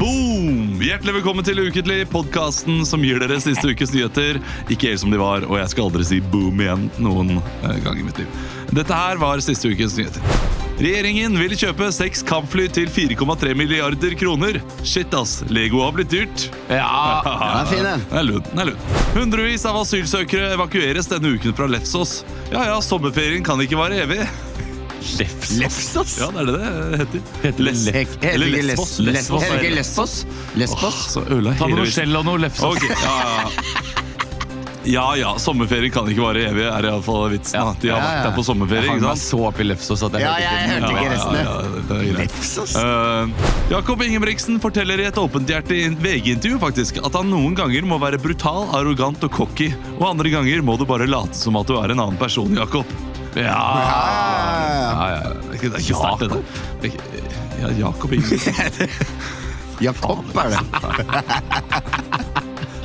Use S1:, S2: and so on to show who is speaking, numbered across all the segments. S1: Boom! Hjertelig velkommen til Uketlig, podkasten som gir dere siste ukes nyheter. Ikke helt som de var, og jeg skal aldri si boom igjen noen eh, gang i mitt liv. Dette her var siste ukes nyheter. Regjeringen vil kjøpe seks kampfly til 4,3 milliarder kroner. Shit, ass. Lego har blitt dyrt.
S2: Ja, den er fin, den.
S1: Den er lun, den er lun. Hundrevis av asylsøkere evakueres denne uken fra Lefsos. Ja ja, sommerferien kan ikke vare evig. Lefsos? Ja, det er det det heter. Les-
S2: Heter
S1: eller
S2: ikke
S1: Lesbos.
S2: Les-
S1: Lesbos
S2: Heter
S1: er
S2: ikke
S1: det.
S2: Lesbos? Lesbos?
S1: Så ødela
S3: Ta
S1: hele
S3: med noe
S1: vitsen.
S3: skjell og noe lefse.
S1: Ok, ja, ja. Ja ja, sommerferie kan ikke vare evig, er iallfall vitsen. da. De har
S2: Ja,
S1: vært
S2: ja.
S1: der på sommerferie.
S3: Hang
S1: ikke
S3: meg
S1: sant?
S3: så opp i lefsos at jeg
S2: Ja,
S3: hørte
S2: jeg
S3: ikke den.
S2: hørte ikke
S1: Ja,
S2: resten.
S1: ja, ja, det er greit.
S2: Lefsos?
S1: Eh, Jakob Ingebrigtsen forteller i et åpenhjertig VG-intervju faktisk at han noen ganger må være brutal, arrogant og cocky, og andre ganger må du bare late som at du er en annen person, Jakob. Ja, ja,
S2: Ah,
S1: ja. Det er ikke- det er ikke sterkt, det der. Det er ikke- Ja, Jakob Ingebrigtsen.
S2: Jakob er det.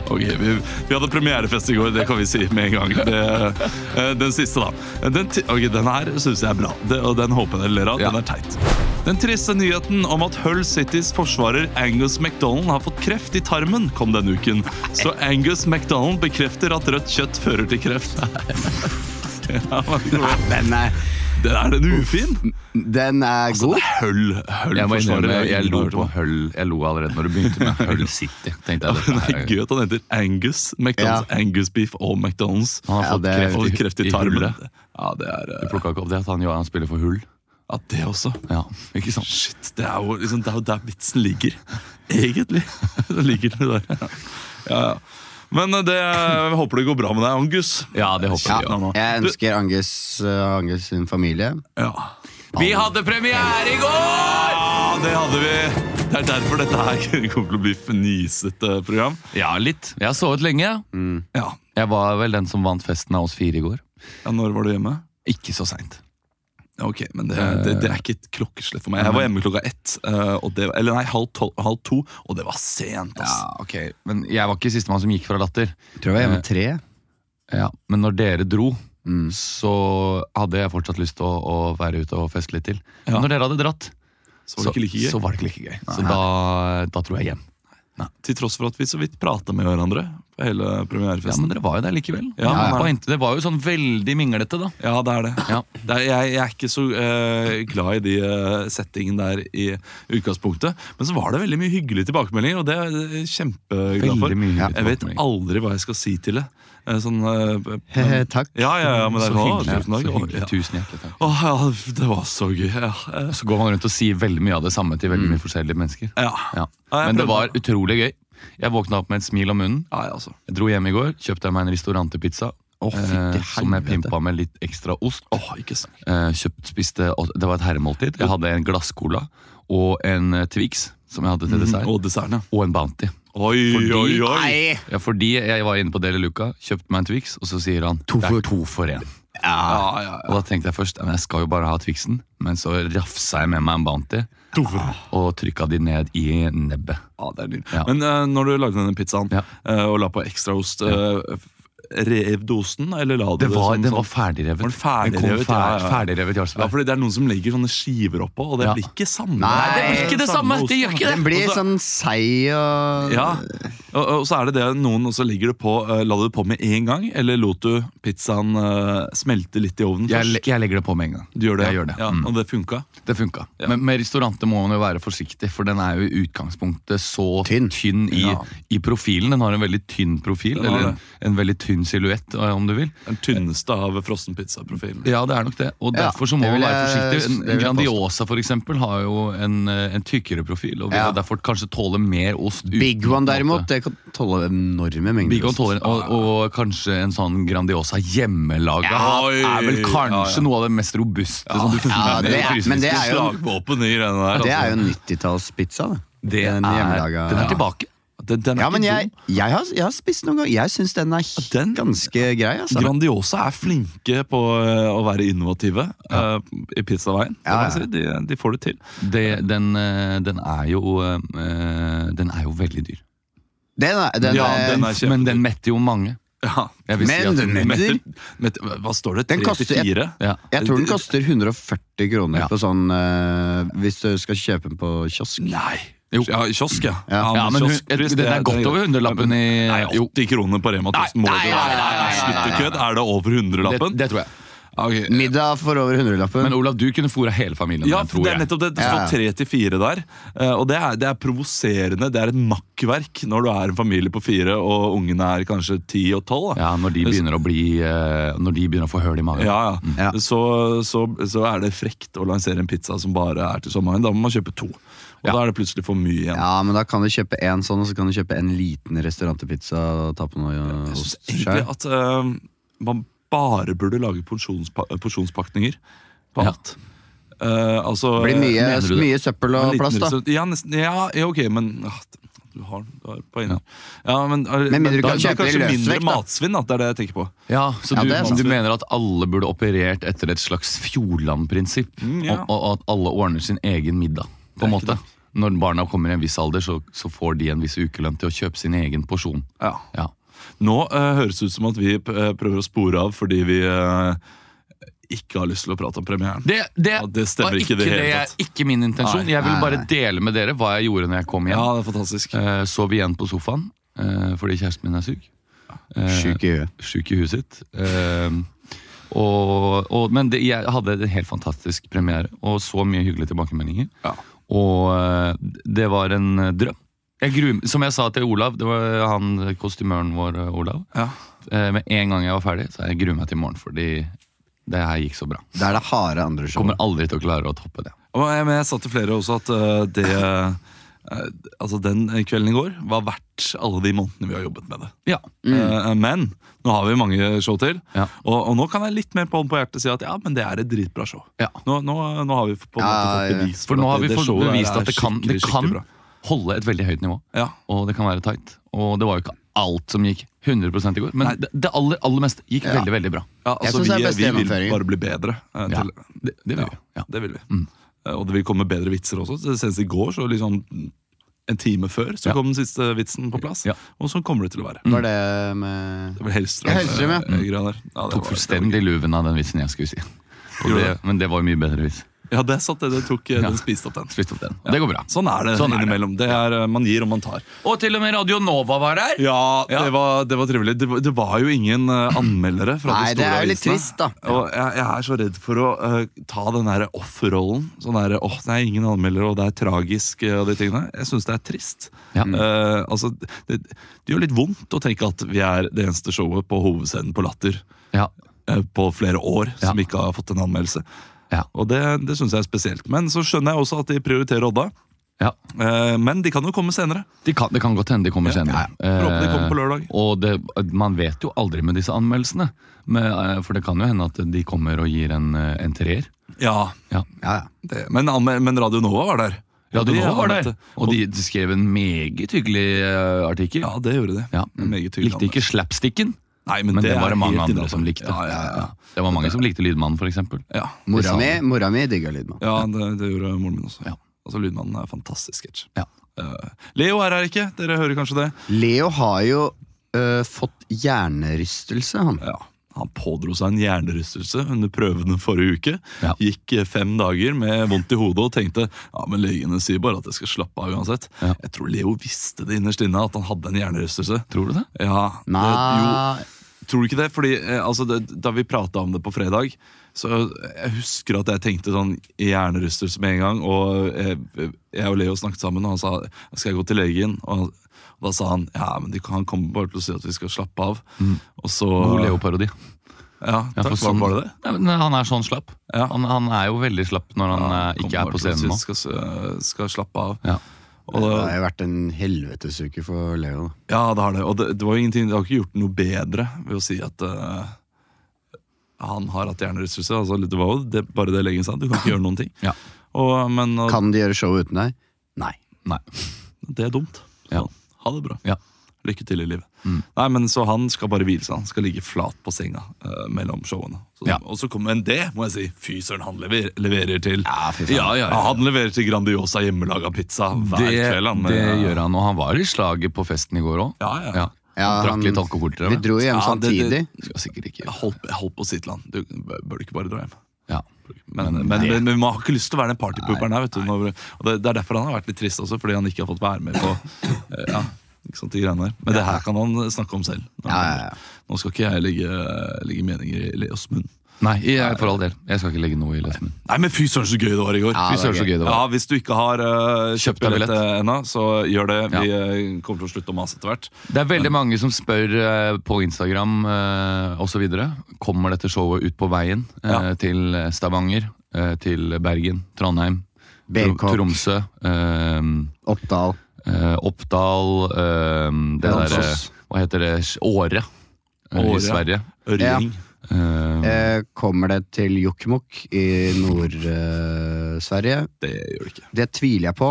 S1: Ok, vi, vi hadde premierefest i går, det kan vi si med en gang. Det, eh, den siste, da. Den, ti- ok, den her syns jeg er bra, det, og den håper jeg dere ler av.
S3: Ja.
S1: Den er teit. Den triste nyheten om at Hull Citys forsvarer Angus McDonald har fått kreft i tarmen, kom denne uken. Så Angus McDonald bekrefter at rødt kjøtt fører til kreft. Ja, men
S2: Den
S3: eh,
S2: er,
S1: det er den ufin.
S2: den er Eh, god.
S1: Hull, Hull
S3: Jeg må
S1: forsvarer
S3: innrømme, jeg lo på
S1: Ingeborg.
S3: høll Jeg lo allerede når du begynte med Hull City. Tenkte jeg,
S1: Det
S3: dette
S1: er
S3: er-
S1: gøy at han heter Angus McDonald's,
S2: Ja.
S1: Angus Beef og McDonald's.
S3: Han har
S2: Ja,
S3: fått
S2: det er-
S3: kreft,
S1: Og
S3: i-
S1: kreft i
S3: hullet.
S1: tarmen. Ja, det er
S3: Du
S1: eh,
S3: plukka ikke opp det at han, Johan spiller for hull?
S1: Ja, det også.
S3: Ja, ikke sant?
S1: Shit, det er jo, liksom, det er jo der vitsen ligger. Egentlig. Det ligger det der. Ja, ja. Men eh, det, jeg håper det går bra med deg, Angus.
S3: Ja, det håper
S2: Ja,
S3: vi.
S1: nå.
S2: jeg ønsker Angus, uh, Angus sin familie.
S1: Ja.
S3: Vi hadde premiere i går!
S1: ja, det hadde vi. Det er derfor dette her kommer til å bli fnisete program.
S3: Ja, litt. Jeg har sovet lenge.
S1: Ja.
S3: Jeg var vel den som vant festen av oss fire i går.
S1: ja, Når var du hjemme?
S3: Ikke så seint.
S1: Ok, men det, det, det er ikke et klokkeslett for meg. Jeg var hjemme klokka ett, eh, og det, eller nei, halv, tolv, halv to, og det var sent. ass.
S3: Ja, ok. Men jeg var ikke sistemann som gikk fra latter.
S2: Tror jeg var hjemme tre.
S3: Ja, Men når dere dro,
S1: Mm.
S3: så hadde jeg fortsatt lyst til å, å være ute og feste litt til. Men
S1: Ja.
S3: Når dere hadde dratt,
S1: Så var det ikke like gøy.
S3: så var det ikke like gøy. Så da, da dro jeg hjem.
S1: Til tross for at vi så vidt prata med hverandre på hele
S3: Ja,
S1: premierefesten.
S3: Men dere var jo der likevel.
S1: Ja,
S3: Dere
S1: ja, ja.
S3: var hente- Det var jo sånn veldig minglete, da.
S1: Ja, det er det.
S3: Ja.
S1: det er, jeg, jeg er ikke så eh, glad i de eh, settingene der i utgangspunktet. Men så var det veldig mye hyggelige tilbakemeldinger, og det er jeg kjempeglad for.
S3: Veldig mye hyggelige
S1: jeg vet
S3: tilbakemeldinger.
S1: aldri hva jeg skal si til det. Eh, Sånn eh,
S2: He-he,
S1: men-
S2: takk.
S1: Ja, ja, ja, men det er Å,
S3: så hyggelig.
S1: tusen takk.
S3: så
S1: Å,
S3: hyggelig.
S1: ja.
S3: Tusen hjertelig takk.
S1: Å, ja, det var så gøy. Ja, eh,
S3: Så går man rundt og sier veldig mye av det samme til veldig mye forskjellige mennesker.
S1: Mm. ja.
S3: Ja.
S1: Ja, jeg
S3: Men det
S1: prøvde.
S3: var utrolig gøy. Jeg våkna opp med et smil om munnen.
S1: Ja, ja, altså.
S3: Jeg dro hjem i går, kjøpte meg en restaurantepizza. eh, som jeg pimpa med litt ekstra ost.
S1: Åh, ikke sant.
S3: Eh, kjøpt, spiste, og det var et herremåltid. Jeg hadde en glasscola og en eh, Twix som jeg hadde
S1: Mm,
S3: til dessert.
S1: Og desserten, ja.
S3: Og en Bounty.
S1: Oi, oi, oi!
S2: Nei!
S3: Ja, fordi jeg var inne på Deli Luca, kjøpte meg en Twix, og så sier han
S2: To
S3: det
S2: for-
S3: er to for én.
S2: Ja.
S1: Ja, ja, ja.
S3: Og da tenkte jeg først "Ja, men jeg skal jo bare ha Twixen, men så rafsa jeg med meg en Bounty og trykka de ned i nebbet.
S1: Ja, Ah, det er nydelig.
S3: Ja.
S1: Men eh, når du lagde denne pizzaen
S3: Ja.
S1: eh, og la på ekstraost, uh, rev du osten, eller la du
S3: Det var,
S1: som
S3: den var
S1: sånn-
S3: ferdigrevet.
S1: Var den ferdigrevet?
S3: Den kom
S1: Ja,
S3: fer-
S1: ja.
S3: ferdigrevet
S1: Ja,
S3: Jarlsberg.
S1: fordi det er noen som legger sånne skiver oppå, og det
S3: Ja.
S1: blir ikke samme.
S2: Nei, det
S3: blir ikke det samme,
S1: osten.
S3: det gjør ikke det.
S2: Den blir
S1: Og så-
S2: sånn seig sånn og
S1: ja, Og, og så er det det noen, og så ligger det på eh, La du det på med en gang, eller lot du pizzaen eh, smelte litt i ovnen
S3: Jeg,
S1: først?
S3: le- jeg legger det på med en gang.
S1: Du gjør det,
S3: Jeg gjør det.
S1: Ja,
S3: Mm.
S1: Og det funka?
S3: Det funka. Men med restauranter må man jo være forsiktig, for den er jo i utgangspunktet så tynn,
S2: Tynn.
S3: i,
S2: Ja.
S3: i profilen. Den har en veldig tynn profil,
S1: Den har
S3: eller en,
S1: det.
S3: en veldig tynn silhuett, eh, om du vil.
S1: Den tynneste av frossenpizzaprofilen.
S3: Ja, det er nok det, og
S2: Ja,
S3: derfor så må
S2: det
S3: man
S2: vil
S3: være
S2: jeg-
S3: forsiktig. En,
S2: det vil
S3: en
S2: jeg
S3: Grandiosa for eksempel har jo en, eh, en tykkere profil, og vil
S2: Ja.
S3: jo derfor kanskje tåle mer ost. uten
S2: Big One derimot,
S3: måte.
S2: det kan tåle enorme mengder.
S3: Big One
S2: ost.
S3: tåler, og, og kanskje en sånn Grandiosa hjemmelaga
S1: Ja,
S3: er vel
S1: oi.
S3: kanskje
S1: Ja, ja.
S3: noe av det mest robuste som du finner
S2: Ja, det
S3: i
S2: er, men det er jo
S1: Slagvåpen i greiene der.
S2: Det
S1: altså.
S2: er jo en 90-tallspizza. da.
S3: Det er,
S2: Den hjemmelaga-
S3: den er tilbake.
S1: Den, den er
S2: Ja, men
S1: ikke
S2: jeg,
S1: dum.
S2: jeg, har, jeg har spist noen ganger. Jeg syns den er
S1: Den-
S2: ganske grei. Altså.
S1: Grandiosa er flinke på eh, å være innovative eh, i pizzaveien. Det
S2: Ja,
S1: må
S2: ja.
S1: jeg Si. De, de får det til.
S3: Det, den, eh, den er jo eh, Den er jo veldig dyr.
S2: Den er, den
S1: Ja,
S2: er,
S1: den er kjempedyr.
S3: Men den metter jo mange.
S1: Ja.
S3: Jeg vil
S2: Men
S3: si at,
S2: den metter-
S1: Metter, metter, hva står det?
S2: Den koster-
S1: 3-4?
S3: ja.
S2: jeg tror den koster 140 kroner
S3: Ja.
S2: på sånn eh, hvis du skal kjøpe den på kiosk.
S1: Nei!
S3: Jo.
S1: Ja, kiosk, ja.
S2: Ja.
S3: Ja, men hun-
S1: kioskpris,
S3: den er godt over hundrelappen i
S1: Nei,
S3: Jo,
S1: 80 kroner på Rema 1000 må
S3: Nei,
S1: det
S3: nei, nei, nei,
S1: være.
S3: nei,
S1: Slutt å kødde. Er det over
S3: det,
S1: hundrelappen?
S3: det tror jeg.
S1: Ok.
S2: Middag for over hundrelappen.
S3: Men Olav, du kunne fôra hele familien.
S1: Ja, det
S3: med den,
S1: er
S3: tror jeg.
S1: nettopp det. Det står
S2: Ja.
S1: tre til fire der. eh, Og det er, det er provoserende. Det er et makkverk når du er en familie på fire, og ungene er kanskje ti og tolv. da.
S3: Ja, når de begynner å bli eh, Når de begynner å få høl i magen.
S1: Ja, ja.
S2: Ja.
S1: Så, så, så er det frekt å lansere en pizza som bare er til sommeren. Da må man kjøpe to. Og
S3: Ja.
S1: da er det plutselig for mye igjen.
S2: Ja, men da kan du kjøpe en sånn, og så kan du kjøpe en liten restaurantpizza og ta på noe eh,
S1: Jeg synes
S2: ost
S1: egentlig
S3: altså,
S2: sjøl.
S1: at eh, man bare burde lage porsjonspa porsjonspakninger på
S3: Ja.
S1: alt. Eh, altså
S2: Det blir mye,
S3: Mener du det?
S2: mye søppel
S1: en
S2: og
S1: liten
S2: plast, da.
S1: restaurant- Ja, nesten, ja, ja, ok, men ah, du har, du har på inne. Ja, men, eh,
S2: mindre du
S1: da
S2: kan
S1: blir det
S2: kjøpe
S1: kanskje
S2: i
S1: mindre
S2: løsvekt, da.
S1: matsvinn, da. det er det jeg tenker på.
S3: Ja, Så
S2: Ja,
S3: du,
S2: det er sant.
S3: du mener at alle burde operert etter et slags Fjordland-prinsipp?
S1: Mm, ja.
S3: og, og at alle ordner sin egen middag? på en måte Når barna kommer i en viss alder, så, så får de en viss ukelønn til å kjøpe sin egen porsjon.
S1: Ja.
S3: Ja.
S1: Nå eh, høres det ut som at vi p- eh, prøver å spore av fordi vi eh, ikke har lyst til å prate om premieren.
S3: Det, det,
S1: Ja, det stemmer
S3: var
S1: ikke i det hele
S3: jeg-
S1: tatt.
S3: ikke min intensjon.
S1: Nei,
S3: jeg vil
S2: nei,
S3: bare
S2: nei.
S3: dele med dere hva jeg gjorde når jeg kom hjem.
S1: Ja, det er fantastisk.
S3: Eh, sov igjen på sofaen eh, fordi kjæresten min er syk. Eh,
S2: Sjuk i huet.
S3: Syk i huet sitt. Eh, og, og, men det, jeg hadde en helt fantastisk premiere og så mye hyggelige tilbakemeldinger.
S1: Ja.
S3: Og eh, det var en eh, drøm. Jeg gruer, som jeg sa til Olav, det var han kostymøren vår, eh, Olav.
S1: Ja.
S3: Eh, med en gang jeg var ferdig, så jeg gruer meg til i morgen, fordi det her gikk så bra.
S2: Det er det harde andre show.
S3: Kommer aldri til å klare å toppe det.
S1: Og jeg, men jeg sa til flere også at eh, det eh, Altså Den kvelden i går var verdt alle de månedene vi har jobbet med det.
S3: Ja.
S2: Mm.
S1: Eh, men nå har vi mange show til,
S3: Ja.
S1: og, og nå kan jeg litt mer på hånden på hjertet si at ja, men det er et dritbra show.
S3: Ja.
S1: Nå, nå, nå har vi på en måte
S2: Ja,
S1: fått
S2: ja.
S1: bevis
S3: For nå har
S1: at
S3: vi
S1: det- det
S3: fått
S1: showet der
S3: bevist
S1: er
S3: at det kan, det
S1: skikkelig, skikkelig
S3: kan
S1: bra.
S3: holde et veldig høyt nivå.
S1: Ja.
S3: Og det kan være tight. Og det var jo ikke alt som gikk 100 i går, men det, det aller, aller meste gikk veldig veldig bra.
S1: Ja,
S2: Jeg
S1: altså,
S2: synes
S1: vi,
S2: det er beste
S1: vi vil
S2: gjennomføringen.
S1: bare bli bedre. eh,
S3: Ja.
S1: til,
S3: Det, det vil vi.
S1: Ja,
S3: Ja. Mm.
S1: det vil vi. Eh, Og det vil komme bedre vitser også. Så Senest i går, så liksom en time før, så
S3: Ja.
S1: kom den siste vitsen på plass.
S3: Ja. Mm.
S1: Og sånn kommer det til å være.
S2: Var det med
S1: Det var Hellstrøm.
S2: Ja, Hellstrøm, ja.
S1: eh, greia der. Ja, det
S3: Tok
S1: var-
S3: fullstendig luven av den vitsen jeg skulle si. Og
S1: Gjorde
S3: det, men det var jo mye bedre vits.
S1: Ja, det satt det. Det tok, eh,
S3: Ja.
S1: Den spiste opp den.
S3: Spist opp den. Og det går bra.
S1: Sånn er det
S3: Sånn er det.
S1: innimellom. Det er, eh, man gir og man tar.
S3: Og til og med Radio Nova var her!
S1: Ja,
S3: Ja.
S1: Det, var, det var trivelig. Det var, det var jo ingen eh, anmeldere fra
S2: Nei,
S1: de
S2: det
S1: store
S2: er jo litt
S1: avisene.
S2: trist, da.
S1: Og jeg, jeg er så redd for å eh, ta den der offerrollen. Sånn der, åh, det er ingen anmeldere, og det er tragisk, eh, og de tingene. Jeg syns det er trist.
S3: Ja.
S1: Eh, altså, det, det gjør litt vondt å tenke at vi er det eneste showet på hovedscenen på Latter
S3: Ja.
S1: eh, på flere år
S3: Ja.
S1: som ikke har fått en anmeldelse.
S3: Ja.
S1: Og det, det syns jeg er spesielt. Men så skjønner jeg også at de prioriterer Odda.
S3: ja.
S1: Eh, men de kan jo komme senere.
S3: De kan, det kan godt hende de kommer
S1: Ja,
S3: senere.
S1: ja. Forhåpentlig kommer på lørdag.
S3: Eh, Og det, man vet jo aldri med disse anmeldelsene. Men, eh, for det kan jo hende at de kommer og gir en, eh, en treer.
S1: Ja,
S3: Ja.
S2: Ja, ja.
S1: det, men, anme- men Radio Nova var der.
S3: Radio
S1: Og de
S3: Nova var der,
S1: anmeldte.
S3: og de, de skrev en meget hyggelig eh, artikkel.
S1: Ja, det gjorde de.
S3: Ja.
S1: En Meget tydelig
S3: Likte ikke slapsticken,
S1: anmeldelse. Nei,
S3: men det,
S1: er
S3: var det mange
S1: helt
S3: andre
S1: innenfor.
S3: som likte.
S1: Ja, ja, ja.
S3: Det var mange som likte Lydmannen, for eksempel.
S1: Ja,
S2: Mora mi, mora mi digga lydmann.
S1: ja det, det gjorde moren min også.
S3: Ja.
S1: Altså, Lydmannen er en fantastisk sketsj.
S3: Ja.
S1: Eh, Leo er her ikke, dere hører kanskje det?
S2: Leo har jo øh, fått eh, hjernerystelse, han.
S1: Ja, Han pådro seg en hjernerystelse under prøvene forrige uke.
S3: Ja.
S1: Gikk eh, fem dager med vondt i hodet og tenkte ja, men legene sier bare at jeg skal slappe av uansett.
S3: Ja.
S1: Jeg tror Leo visste det innerst inne at han hadde en hjernerystelse.
S3: Tror du det?
S1: Ja, det, jo,
S2: Nei
S1: Tror du ikke det? Fordi eh, altså, det, Da vi prata om det på fredag, så eh, jeg husker at jeg tenkte sånn hjernerystelse med en gang. Og eh, jeg og Leo snakket sammen, og han sa skal jeg gå til legen. Og, han- og da sa han ja, men de kan, han kommer bare til å si at vi skal slappe av. Og så
S3: Mm. God Leo-parodi.
S1: Ja,
S3: Ja,
S1: takk,
S3: for
S1: var,
S3: sånn-
S1: var det det?
S3: Ja, men han er sånn slapp.
S1: Ja.
S3: Han, han er jo veldig slapp når han eh,
S1: kommer
S3: ikke er
S1: bare til
S3: på
S1: å si
S3: scenen
S1: at
S3: nå.
S1: vi Skal, s- skal slappe av.
S3: Ja.
S1: Og
S2: Det
S1: da,
S2: har jo vært en helvetesuke for Leo. da.
S1: ja, det har det. Og det, det var jo ingenting, det har ikke gjort noe bedre ved å si at eh, han har hatt hjernerystelse. Altså, det var jo det, bare det legen sa. Du kan ikke gjøre noen ting.
S3: Ja.
S1: Og, men, og,
S2: Kan de gjøre show uten deg? Nei.
S3: Nei.
S1: Det er dumt.
S3: Ja.
S1: Sånn. Ha det bra.
S3: Ja. Mm.
S1: Lykke til i livet. Nei, men Så han skal bare hvile seg. Han skal ligge flat på senga eh, mellom showene. Så,
S3: Ja.
S1: Og så kommer en det, må jeg si. Fy søren, han lever, leverer til
S2: Ja, fy faen.
S1: ja, ja, ja. Han leverer til Grandiosa hjemmelaga pizza hver
S3: Det,
S1: kveld. Han, eh,
S3: det gjør han, og han var i slaget på festen i går òg.
S1: Ja, ja.
S2: Ja,
S3: han drakk
S2: han-
S3: litt alkohol til
S2: Vi
S3: dem.
S2: dro jo
S1: Ja,
S2: hjem
S1: det-
S2: samtidig.
S1: det-
S3: Skal sikkert ikke.
S1: Jeg holdt, jeg holdt på å si til han Du bør bør du ikke bare dra hjem.
S3: Ja.
S1: Men, men, men, men vi har ikke lyst til å være den partypooperen her. Vet du, når, og det, det er derfor han har vært litt trist også, fordi han ikke har fått være med på eh, ja, ikke sant, de greiene der. Men det her kan han snakke om selv. når han
S2: Ja, ja, ja.
S1: kommer. Nå skal ikke jeg legge, legge meninger i Leos munn.
S3: Nei, jeg, for all del. Jeg skal ikke legge noe i lesen min.
S1: Nei, men fy søren så gøy det var i går!
S2: Ja,
S3: Fy
S2: det er
S3: søren, så
S2: gøy.
S3: gøy det
S1: Ja,
S3: var.
S1: Hvis du ikke har eh,
S3: Kjøpt
S1: kjøpt
S3: deg
S1: billett
S3: billett.
S1: ennå, så gjør det. Vi eh, kommer til å slutte å mase etter hvert.
S3: Det er veldig mange som spør eh, på Instagram eh, og så videre Kommer dette showet ut på veien eh,
S1: Ja.
S3: til Stavanger, eh, til Bergen, Trondheim, Tr-
S2: Bangkok.
S3: Tromsø, eh,
S2: Oppdal.
S3: eh, Oppdal eh, Det derre
S2: Namsos.
S3: Hva heter det? Åre. eh,
S1: Åre.
S3: I Sverige.
S1: Ørring.
S3: Eh,
S2: Eh, kommer det til Jokkmokk i Nord-Sverige?
S1: Det gjør det ikke.
S2: det tviler jeg på.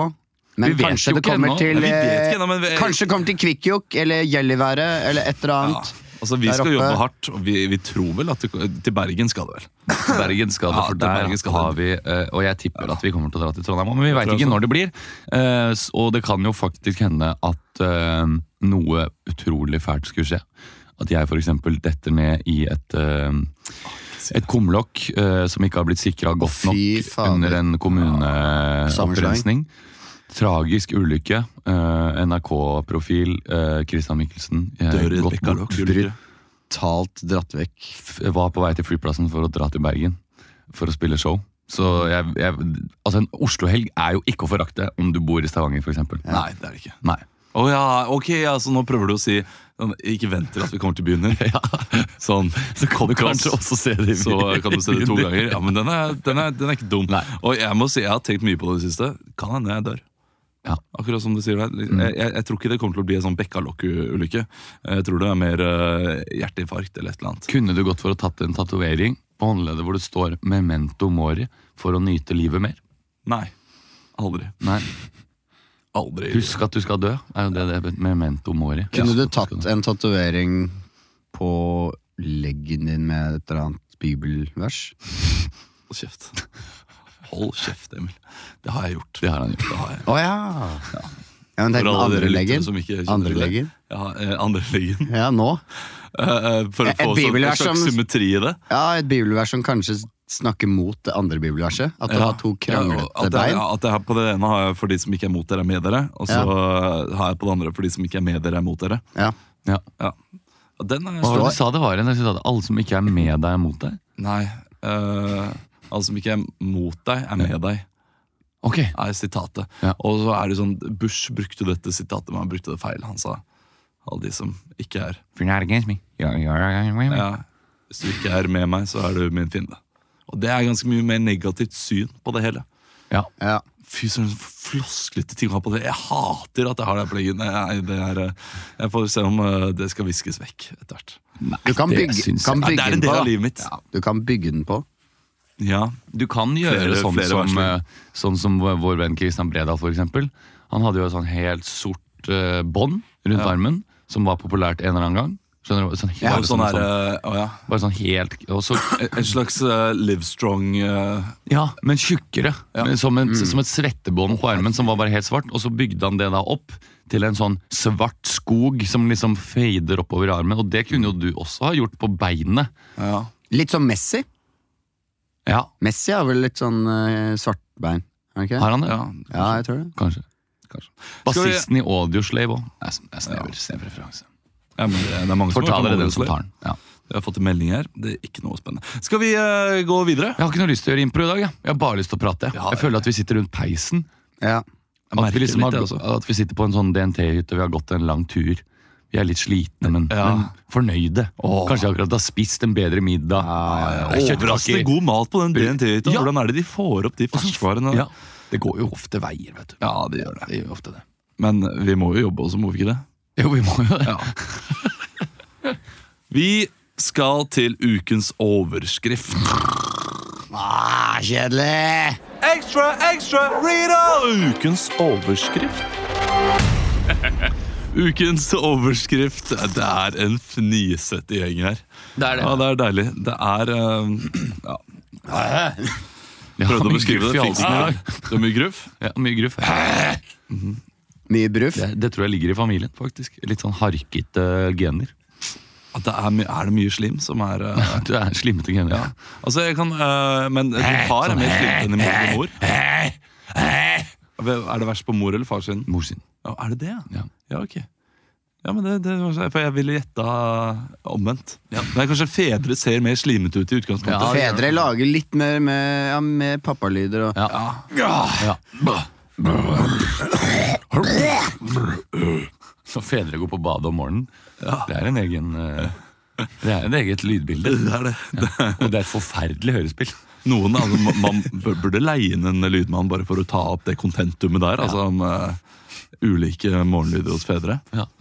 S2: Men
S3: Vi vet
S2: kanskje
S3: jo
S2: det
S3: ikke
S2: kommer
S3: ennå.
S2: til
S1: Nei, vi vet ikke ennå, men
S2: eh,
S1: vi-
S2: Kanskje det kommer til Kvikkjokk eller Gjellivære eller et eller
S1: Ja.
S2: annet.
S1: Altså, Vi
S2: Der
S1: skal
S2: oppe.
S1: jobbe hardt, og vi, vi tror vel at det, Til Bergen skal det vel.
S3: Til Bergen skal det,
S1: Ja,
S3: for
S1: til
S3: der
S1: Bergen skal
S3: har
S1: det.
S3: vi eh, Og jeg tipper at vi kommer til å dra til Trondheim også, men vi veit
S1: tror jeg
S3: ikke
S1: også.
S3: når det blir. Eh, s- Og det kan jo faktisk hende at eh, noe utrolig fælt skulle skje. At jeg f.eks. detter ned i et eh, et kumlokk eh, som ikke har blitt sikra godt
S2: Å,
S3: nok
S2: fy fader.
S3: under en kommuneopprensning.
S2: Sammenslåing.
S3: Tragisk ulykke. Eh, NRK-profil eh, Christian Michelsen eh,
S1: Dør i et
S3: godt
S1: bekkalokk.
S3: bort.
S1: ulykke.
S2: Talt dratt vekk.
S3: f- var på vei til flyplassen for å dra til Bergen for å spille show. Så jeg, jeg, altså En Oslo-helg er jo ikke å forakte om du bor i Stavanger, f.eks. Ja.
S1: Nei, det er det ikke.
S3: Nei.
S1: Å ja, ok, ja, så nå prøver du å si sånn, Ikke vent til at vi kommer til byen din. Sånn, så kan du
S3: kanskje også se det i
S1: Så kan du se det to
S3: byen
S1: ganger. Ja, men den er, den er, den er ikke dum.
S3: Nei.
S1: Og jeg må si, jeg har tenkt mye på det siste. Kan hende jeg dør.
S3: Ja. Mm.
S1: Akkurat som du sier der. Jeg, jeg, jeg tror ikke det kommer til å bli en sånn Bekkalokk-ulykke. Jeg tror det er mer eh, hjerteinfarkt eller et eller annet.
S3: Kunne du gått for å tatt en tatovering på håndleddet hvor det står 'Memento mori' for å nyte livet mer?
S1: Nei. Aldri.
S3: Nei.
S1: Aldri.
S3: Husk at du skal dø, er jo det det betyr. 'Memento mori'.
S2: Kunne
S3: Ja.
S2: du tatt en tatovering på leggen din med et eller annet bibelvers?
S1: Hold kjeft. Hold kjeft, Emil. Det har jeg gjort.
S3: Det har han gjort.
S1: Det har jeg.
S2: Å ja! Ja, men
S1: For
S2: tenk på
S1: alle dere
S2: andre
S1: lyttere
S2: leggen.
S1: som ikke kjenner
S2: Andre
S1: til det.
S2: leggen.
S1: Ja, eh, andre leggen.
S2: Ja, nå.
S1: Eh, eh, For å
S2: Et
S1: få sånn, en
S2: bibelvers
S1: slags
S2: som-
S1: symmetri i det.
S2: Ja, et bibelvers som kanskje snakker mot det andre bibelverset. At det
S1: Ja.
S2: har to
S1: Ja, og
S2: kranglete
S1: at jeg,
S2: bein.
S1: at jeg, på det ene har jeg for de som ikke er mot dere, er med dere. Og så eh, har jeg på det andre for de som ikke er med dere, er mot dere.
S2: Ja.
S3: Ja.
S1: Ja. Og Den er
S3: Hva var det
S1: stor.
S3: du sa det var igjen? Jeg synes at Alle som ikke er med deg, er mot deg?
S1: Nei. eh, alle som ikke er mot deg, er med deg,
S3: Ok,
S1: er sitatet.
S3: Ja.
S1: Og så er det sånn Bush brukte dette sitatet, men han brukte det feil. Han sa alle de som ikke er
S3: If you're not against me, you're- you're against me.
S1: ja, Hvis du ikke er med meg, så er du min fiende. Og det er ganske mye mer negativt syn på det hele.
S3: Ja.
S2: Ja.
S1: Fy søren, så flosklete ting å ha på det. Jeg hater at jeg har det på leggen. Nei, det er, eh, jeg får se om eh, det skal viskes vekk etter hvert.
S2: Du kan
S3: det
S2: bygge,
S3: syns jeg-
S2: kan
S1: Nei,
S2: bygge
S1: det er
S2: den
S1: en del
S2: på.
S1: av
S2: da.
S1: livet mitt. Ja.
S2: Du kan bygge den på.
S3: Du kan gjøre
S1: Flere-
S3: sånn,
S1: flere
S3: som,
S1: varsler.
S3: eh, sånn som vår- vår venn Christian Bredal, for eksempel. Han hadde jo et sånn helt sort eh, bånd rundt armen, som var populært en eller annen gang. Skjønner du? Sånn, helt,
S1: Ja, sånn
S3: sånn,
S1: her, eh, å ja.
S3: bare sånn helt Og så
S1: En slags eh, Livestrong eh,
S3: Ja, men tjukkere.
S1: Ja. Mm.
S3: Men Som, en, som et svettebånd på armen som var bare helt svart. Og så bygde han det da opp til en sånn svart skog som liksom fader oppover armen. Og det kunne jo du også ha gjort på beinet.
S1: ja.
S2: Litt som Messi.
S3: Ja,
S2: Messi har vel litt sånn eh, svart bein. Er han ikke det?
S3: har han det?
S1: ja.
S2: Ja, jeg tror det.
S3: Kanskje.
S1: Kanskje. Skal vi-
S3: Bassisten i Audioslave òg. Det er snever, snever referanse.
S1: Ja, men det, det er mange
S3: Får ta
S1: har
S3: dere
S1: kommet
S3: den
S1: over
S3: som
S1: det.
S3: tar den. Ja.
S1: Jeg har fått en melding her. Det er ikke noe spennende. Skal vi eh, gå videre?
S3: Jeg har ikke noe lyst til å gjøre impro i dag. Jeg, jeg har bare lyst til å prate.
S1: Ja,
S3: Jeg føler at vi sitter rundt peisen.
S2: Ja.
S1: Jeg
S3: At vi,
S1: merker
S3: liksom
S1: litt
S3: har,
S1: det, altså.
S3: at vi sitter på en sånn DNT-hytte, vi har gått en lang tur. Vi er litt slitne, men,
S1: Ja.
S3: men fornøyde.
S1: Åh.
S3: Kanskje akkurat har spist en bedre middag. Det er kjøttkaker.
S1: Overraskende god mat på den DNT-hytta.
S3: Ja.
S1: Hvordan er det de får opp de ferskvarene?
S3: Ja. Det går jo ofte veier, vet du.
S1: Ja, det gjør det.
S3: Det gjør jo ofte det.
S1: Men vi må jo jobbe også, må vi ikke det?
S3: Jo, vi må jo det.
S1: Vi skal til ukens overskrift.
S2: Ah, kjedelig!
S1: Ekstra, ekstra, Rita! Ukens overskrift. Ukens overskrift. Det er en fnisete gjeng her.
S4: Det er det.
S1: Ja, det er deilig. Det er um, ja.
S3: Ja,
S1: Prøvde å
S3: mye
S1: beskrive
S3: gruff i
S1: det. Fikk
S3: halsen
S1: den i
S3: i dag.
S1: dag. Det er mye gruff.
S3: Ja, mye gruff.
S2: Mye bruff.
S3: Det, det tror jeg ligger i familien, faktisk. Litt sånn harkete gener.
S1: At det er, my- er det mye slim som er eh,
S3: Du er slimete gener. Ja. Sånn,
S1: Altså, jeg kan eh, Men din far er mer slimete enn din mor. Er det verst på mor eller far sin?
S3: Mor sin.
S1: Ja, er det det,
S3: Ja.
S1: Ja, ok. Ja, men det, det var så, For jeg ville gjetta omvendt. Nei, Kanskje fedre ser mer slimete ut i utgangspunktet.
S3: Ja, det gjør
S2: Fedre lager litt mer med, ja, med pappalyder og
S3: Ja. Ja. Så fedre går på badet om morgenen. Det er en egen eh, Det er en eget lydbilde.
S1: Det er det.
S3: Ja. Og det er et forferdelig hørespill.
S1: Noen, altså, ma- Man bur- burde leie inn en lydmann bare for å ta opp det kontentumet der. Altså om eh, ulike morgenlyder hos fedre.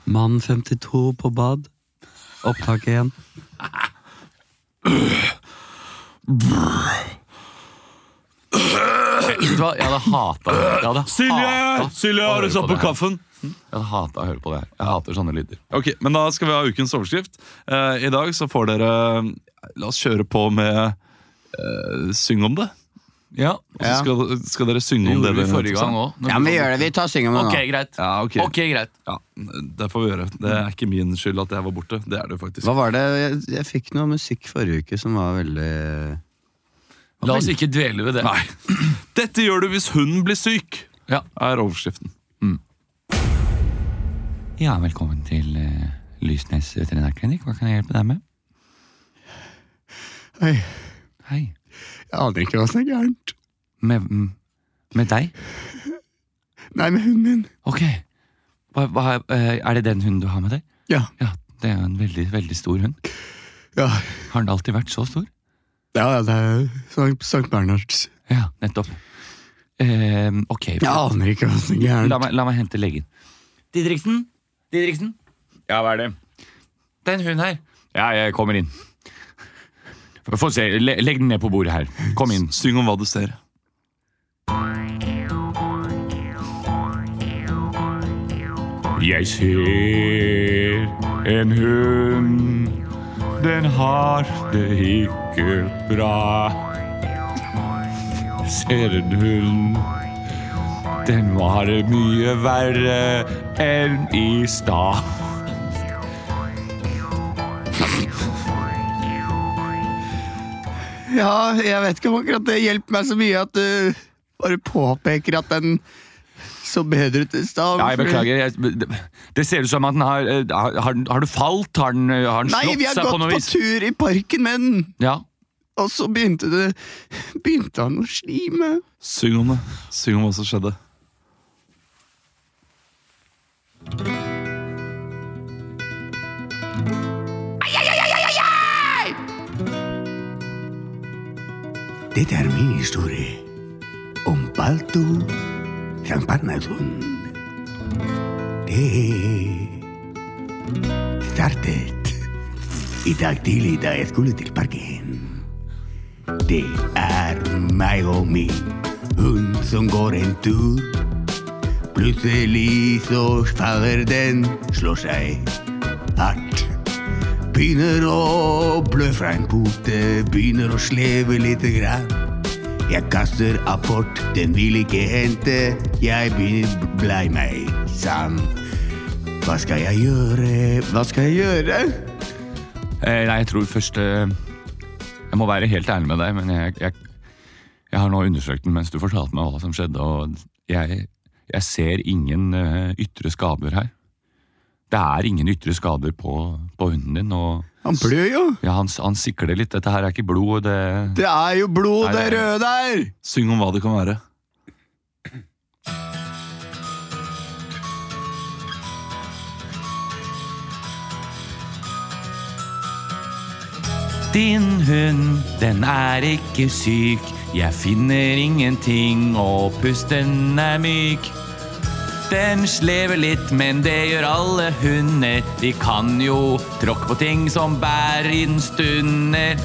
S5: Mann 52 på bad. Opptak igjen.
S3: Eh, Vet du hva? Jeg hadde hata det. Jeg
S1: Ah,
S3: hadde hatet å høre det her.
S1: kaffen?
S3: Jeg hadde hatet å høre på det her. Jeg hater sånne lyder.
S1: Ok, men Da skal vi ha ukens overskrift. Eh, I dag så får dere eh, La oss kjøre på med eh, Syng om det.
S3: Ja,
S1: Og så
S2: Ja.
S1: skal, skal dere synge
S3: Det
S1: om det. dere
S3: gjorde vi
S1: nettopp
S3: forrige
S1: sa.
S3: gang òg.
S2: Ja, men vi gjør det. Vi tar syng om det nå.
S3: Ok, greit.
S1: Ja, ok.
S3: Ok, greit.
S1: Ja, det får vi gjøre. Det er ikke min skyld at jeg var borte. Det er det jo faktisk.
S2: Hva var det? Jeg, jeg fikk noe musikk forrige uke som var veldig
S3: La oss ikke dvele ved det.
S1: Nei. Dette gjør du hvis hunden blir syk,
S3: Ja.
S1: er overskriften.
S3: Ja, velkommen til eh, Lysnes veterinærklinikk. Hva kan jeg hjelpe deg med?
S2: Hei,
S3: Hei.
S2: jeg aner ikke hva som er gærent.
S3: Med, m- med deg?
S2: Nei, med hunden min.
S3: Ok. Hva, hva, eh, er det den hunden du har med deg?
S2: Ja.
S3: Ja, det er jo en veldig, veldig stor hund.
S2: Ja,
S3: Har den alltid vært så stor?
S2: ja det er Sankt, Sankt Bernhards.
S3: Ja, nettopp. Eh, ok.
S2: Jeg aner ikke hva som er
S3: La
S2: gærent.
S3: meg, la meg hente legen. Didriksen? Didriksen? Ja, hva er det? Det er en hund her. Ja, jeg kommer inn. Få se. Le, legg den ned på bordet her. Kom inn.
S1: Syng om hva du ser.
S3: Jeg ser en hund. Den har det ikke bra. Jeg ser en hund. Den var det mye verre enn i stad.
S2: Ja, jeg vet ikke om akkurat det hjelper meg så mye at du bare påpeker at den så bedre ut i stad.
S3: Ja, jeg beklager. Jeg, det- det ser ut som at den har eh, Har, har den- har du falt? Har den, eh, har den
S2: Nei,
S3: slått
S2: vi har
S3: seg på
S2: gått på,
S3: noe vis?
S2: tur i parken med den,
S3: Ja.
S2: og så begynte det Begynte han å slime.
S1: Syng om det. Syng om hva som skjedde.
S2: Dette er min historie om Balto San Parnason. Det startet i dag tidlig da jeg skulle til parken. Det er meg og min hund som går en tur. Plutselig så faller den, slår seg hardt Begynner å blø fra en pote, begynner å sleve lite grann. Jeg kaster apport, den vil ikke hente. Jeg begynner blei meg sann. Hva skal jeg gjøre, hva skal jeg gjøre?
S3: Eh, nei, jeg tror først eh, Jeg må være helt ærlig med deg, men jeg, jeg, jeg har nå undersøkt den mens du fortalte meg hva som skjedde, og jeg, jeg ser ingen eh, ytre skader her. Det er ingen ytre skader på, på hunden din, og
S2: Han blør jo.
S3: ja, han, han sikler litt. Dette her er ikke blod, det
S2: Det er jo
S3: Nei,
S2: blod, det
S3: det er-
S2: røde der!
S1: Syng om hva det kan være.
S3: Din hund, den er ikke syk. Jeg finner ingenting, og pusten er myk. Den slever litt, men det gjør alle hunder. De kan jo tråkke på ting som bærer i den stunder.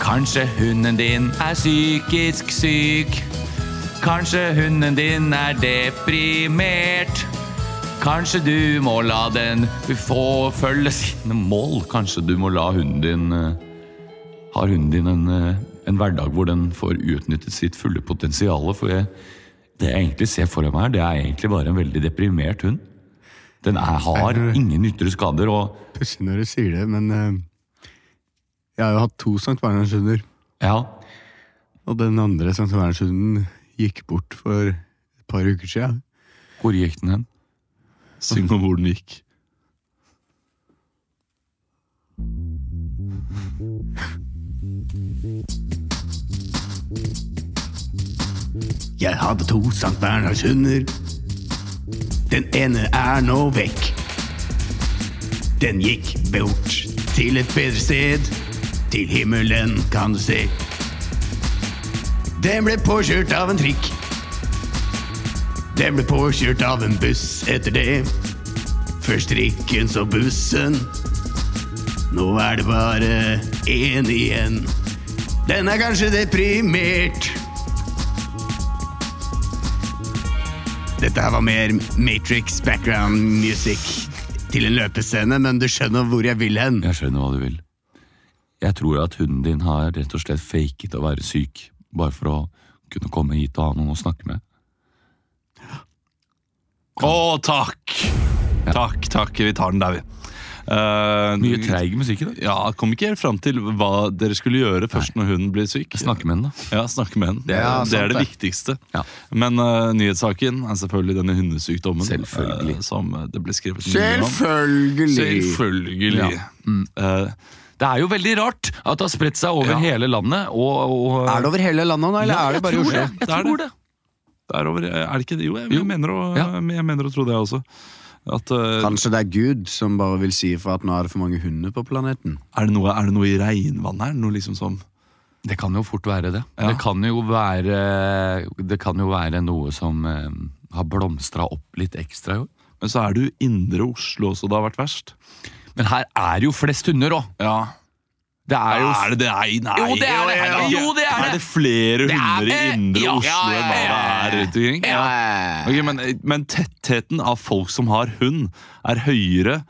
S3: Kanskje hunden din er psykisk syk. Kanskje hunden din er deprimert. Kanskje du må la den få følge sine mål. Kanskje du må la hunden din eh, har hunden din en, eh, en hverdag hvor den får utnyttet sitt fulle potensial. For jeg, det jeg egentlig ser for meg her, det er egentlig bare en veldig deprimert hund. Den er, har ingen ytre skader, og
S2: Pussig når du sier det, men eh, jeg har jo hatt to Sankt Bernhardshunder.
S3: ja,
S2: Og den andre Sankt Bernhardshunden gikk bort for et par uker siden.
S3: hvor gikk den hen?
S1: Syng om hvor den gikk.
S2: Jeg hadde to Sankt Bernhardshunder. Den ene er nå vekk. Den gikk bort til et bedre sted. Til himmelen, kan du se. Den ble påkjørt av en trikk. Den ble påkjørt av en buss etter det. Først trikken, så bussen. Nå er det bare én igjen. Den er kanskje deprimert. Dette her var mer Matrix background music til en løpescene, men du skjønner hvor jeg vil hen.
S3: Jeg skjønner hva du vil. Jeg tror at hunden din har rett og slett faket å være syk, bare for å kunne komme hit og ha noen å snakke med.
S1: Å, takk! Takk, takk. Vi tar den der, vi. Eh,
S3: Mye treig musikk i dag.
S1: Ja, Kom ikke helt fram til hva dere skulle gjøre først når hunden blir syk.
S3: Snakke med den, da.
S1: Ja, snakke med henne. Det, er-
S2: Ja,
S1: det er
S2: sant
S1: det
S2: det.
S1: viktigste.
S3: Ja.
S1: Men eh, nyhetssaken er selvfølgelig denne hundesykdommen
S3: Selvfølgelig.
S1: eh, som eh, det ble skrevet mye om.
S2: Selvfølgelig!
S1: Selvfølgelig.
S3: Ja. Mm.
S1: Eh,
S3: Det er jo veldig rart at det har spredt seg over
S1: Ja.
S3: hele landet, og, og
S2: Er det over hele landet nå, eller
S3: Ja,
S2: er det
S3: jeg
S2: bare i
S3: tror
S2: Oslo?
S3: Jeg
S1: Det er
S3: tror
S1: det.
S3: det.
S1: det er over, er det ikke det? Jo, jeg,
S3: Jo.
S1: jeg, mener, å,
S3: Ja.
S1: jeg mener å tro det også. At, eh,
S2: Kanskje det er Gud som bare vil si for at nå er det for mange hunder på planeten.
S1: er, det noe, er det noe i regnvannet her? Noe liksom som
S3: Det kan jo fort være det.
S1: Ja.
S3: Det, kan jo være, det kan jo være noe som eh, har blomstra opp litt ekstra i år.
S1: Men så er det jo indre Oslo også det har vært verst.
S3: Men her er jo flest hunder òg!
S1: Ja.
S3: Det er jo
S1: Er det det? Nei, nei.
S3: Jo, det er det. Jo, det er det.
S1: flere
S3: er
S1: hunder i
S3: det.
S1: indre
S3: Ja,
S1: Oslo
S3: ja, ja,
S1: enn hva det
S3: ja,
S1: er rundt omkring? Ok, men, men tettheten av folk som har hund, er høyere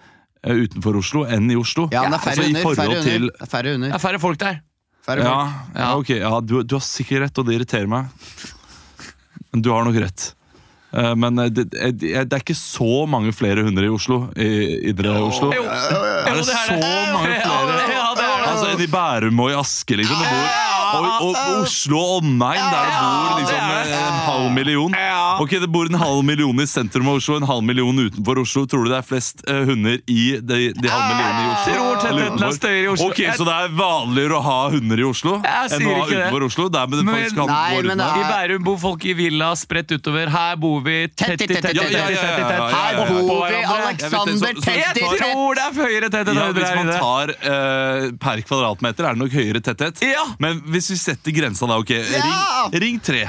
S1: eh, utenfor Oslo enn i Oslo.
S6: Ja, men det er færre
S1: altså,
S6: hunder.
S1: I forhold
S6: Færre
S1: til
S6: hunder. Det er Færre
S3: det
S6: hunder.
S3: er færre folk der.
S6: Færre
S1: ja,
S6: folk.
S1: ja, ok. Ja, du, du har sikkert rett, og det irriterer meg. Men du har nok rett. Eh, Men eh, det, eh, det er det er ikke så mange flere hunder i Oslo. I indre Oslo.
S3: Jo,
S1: Er det
S3: det er
S1: så
S3: det.
S1: mange
S3: Ja,
S1: flere?
S3: det- ja, det er det.
S1: Altså, enn i Bærum og i Aske, liksom. Det bor, og, og, og Oslo og omegn, der det bor liksom
S3: det er det.
S1: en halv million. Ok, det bor en halv million i sentrum av Oslo, en halv million utenfor Oslo. Tror du det er flest eh, hunder i de, de halv millionene i Oslo?
S3: Tror tettheten
S1: Eller
S3: er
S1: utenfor?
S3: større i Oslo.
S1: Ok, Så det er vanligere å ha hunder i Oslo enn
S3: Jeg sier
S1: å ha
S3: ikke det.
S1: utenfor Oslo? Det er med det
S3: Men-
S1: faktisk han
S6: Nei,
S1: går
S6: men
S1: utenfor.
S6: det
S3: I
S6: er-
S3: Bærum bor folk i villa spredt utover. Her bor vi tett i tett i tett. i
S6: Ja,
S3: tett,
S6: ja,
S3: i
S6: ja,
S3: tett,
S1: ja, ja,
S3: i tett.
S1: ja, ja.
S3: Her bor
S6: Bor vi
S3: vi alle.
S6: Alexander
S1: Jeg vet det, så- så-
S6: tett i
S3: Jeg
S6: tett?
S3: tror det er høyere tetthet
S1: Ja,
S3: enn
S1: Hvis man
S3: høyere.
S1: tar eh, per kvadratmeter, er det nok høyere tetthet.
S3: Ja.
S1: Men hvis vi setter grensa da, ok. Ring, ring tre.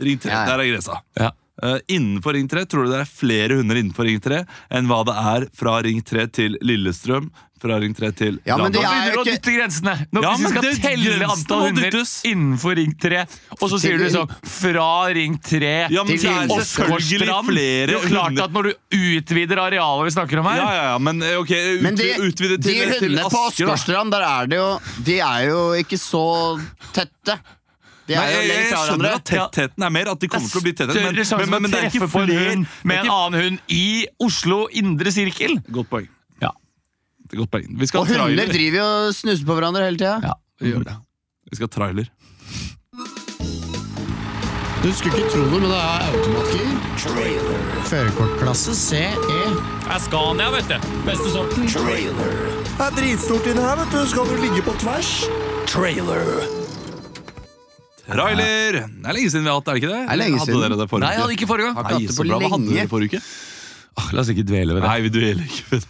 S1: Ring tre,
S6: Ja.
S1: Der er grensa.
S3: Ja.
S1: Eh, innenfor Ring 3 tror du det er flere hunder innenfor Ring 3 enn hva det er fra Ring 3 til Lillestrøm, fra Ring 3 til
S7: Ja, men det
S1: Landa.
S7: er-
S3: Begynner å
S7: ikke-
S3: dytte grensene! Nå,
S1: Ja,
S3: hvis vi
S1: men
S3: skal
S1: det-
S3: telle
S1: grensene
S3: antall
S1: må
S3: hunder
S1: dyttes.
S3: innenfor Ring 3, og så sier du sånn fra Ring 3
S1: Ja, men det er
S7: til
S1: selvfølgelig
S3: Åsgårdstrand. Det er
S1: flere
S3: jo klart
S1: hunder.
S3: at når du utvider arealet vi snakker om her
S1: Ja, ja, ja, men eh, ok, ut,
S7: Men de,
S1: utvide til,
S7: de
S1: til
S7: hundene på
S1: Asker, da.
S7: Åsgårdstrand, der er det jo De er jo ikke så tette. De
S1: Nei,
S7: er jo
S1: jeg, jeg
S7: lenger fra
S1: skjønner at
S7: hverandre.
S1: tettheten er mer, at de kommer til å bli tettere. Men,
S3: Større sjanse
S1: men,
S3: for
S1: men,
S3: å
S1: det er ikke
S3: treffe på en
S1: flere-
S3: hund
S1: det er
S3: med en
S1: ikke-
S3: annen hund i Oslo indre sirkel.
S1: Godt poeng.
S3: Ja.
S1: Det er Godt poeng. Vi skal
S7: Og
S1: ha
S7: hunder
S1: trailer.
S7: driver jo og snuser på hverandre hele tida.
S3: vi gjør det.
S1: Vi skal ha trailer.
S8: Du skulle ikke tro det, men det er automatgir. Førerkortklasse CE.
S4: er Scania, vet du. Beste sorten.
S9: Det er dritstort inne her, vet du. Skal du ligge på tvers?
S1: Trailer! Det er lenge siden vi har hatt, er det ikke det?
S7: er lenge siden.
S1: Hadde dere det forrige
S3: Nei, jeg hadde ikke forrige gang.
S7: Har
S3: Ah,
S7: ikke hatt
S1: Nei,
S7: det
S1: så
S7: på
S1: bra. Hva hadde
S7: lenge.
S1: dere forrige uke?
S3: La oss ikke dvele ved
S1: Nei, vi dueller ikke.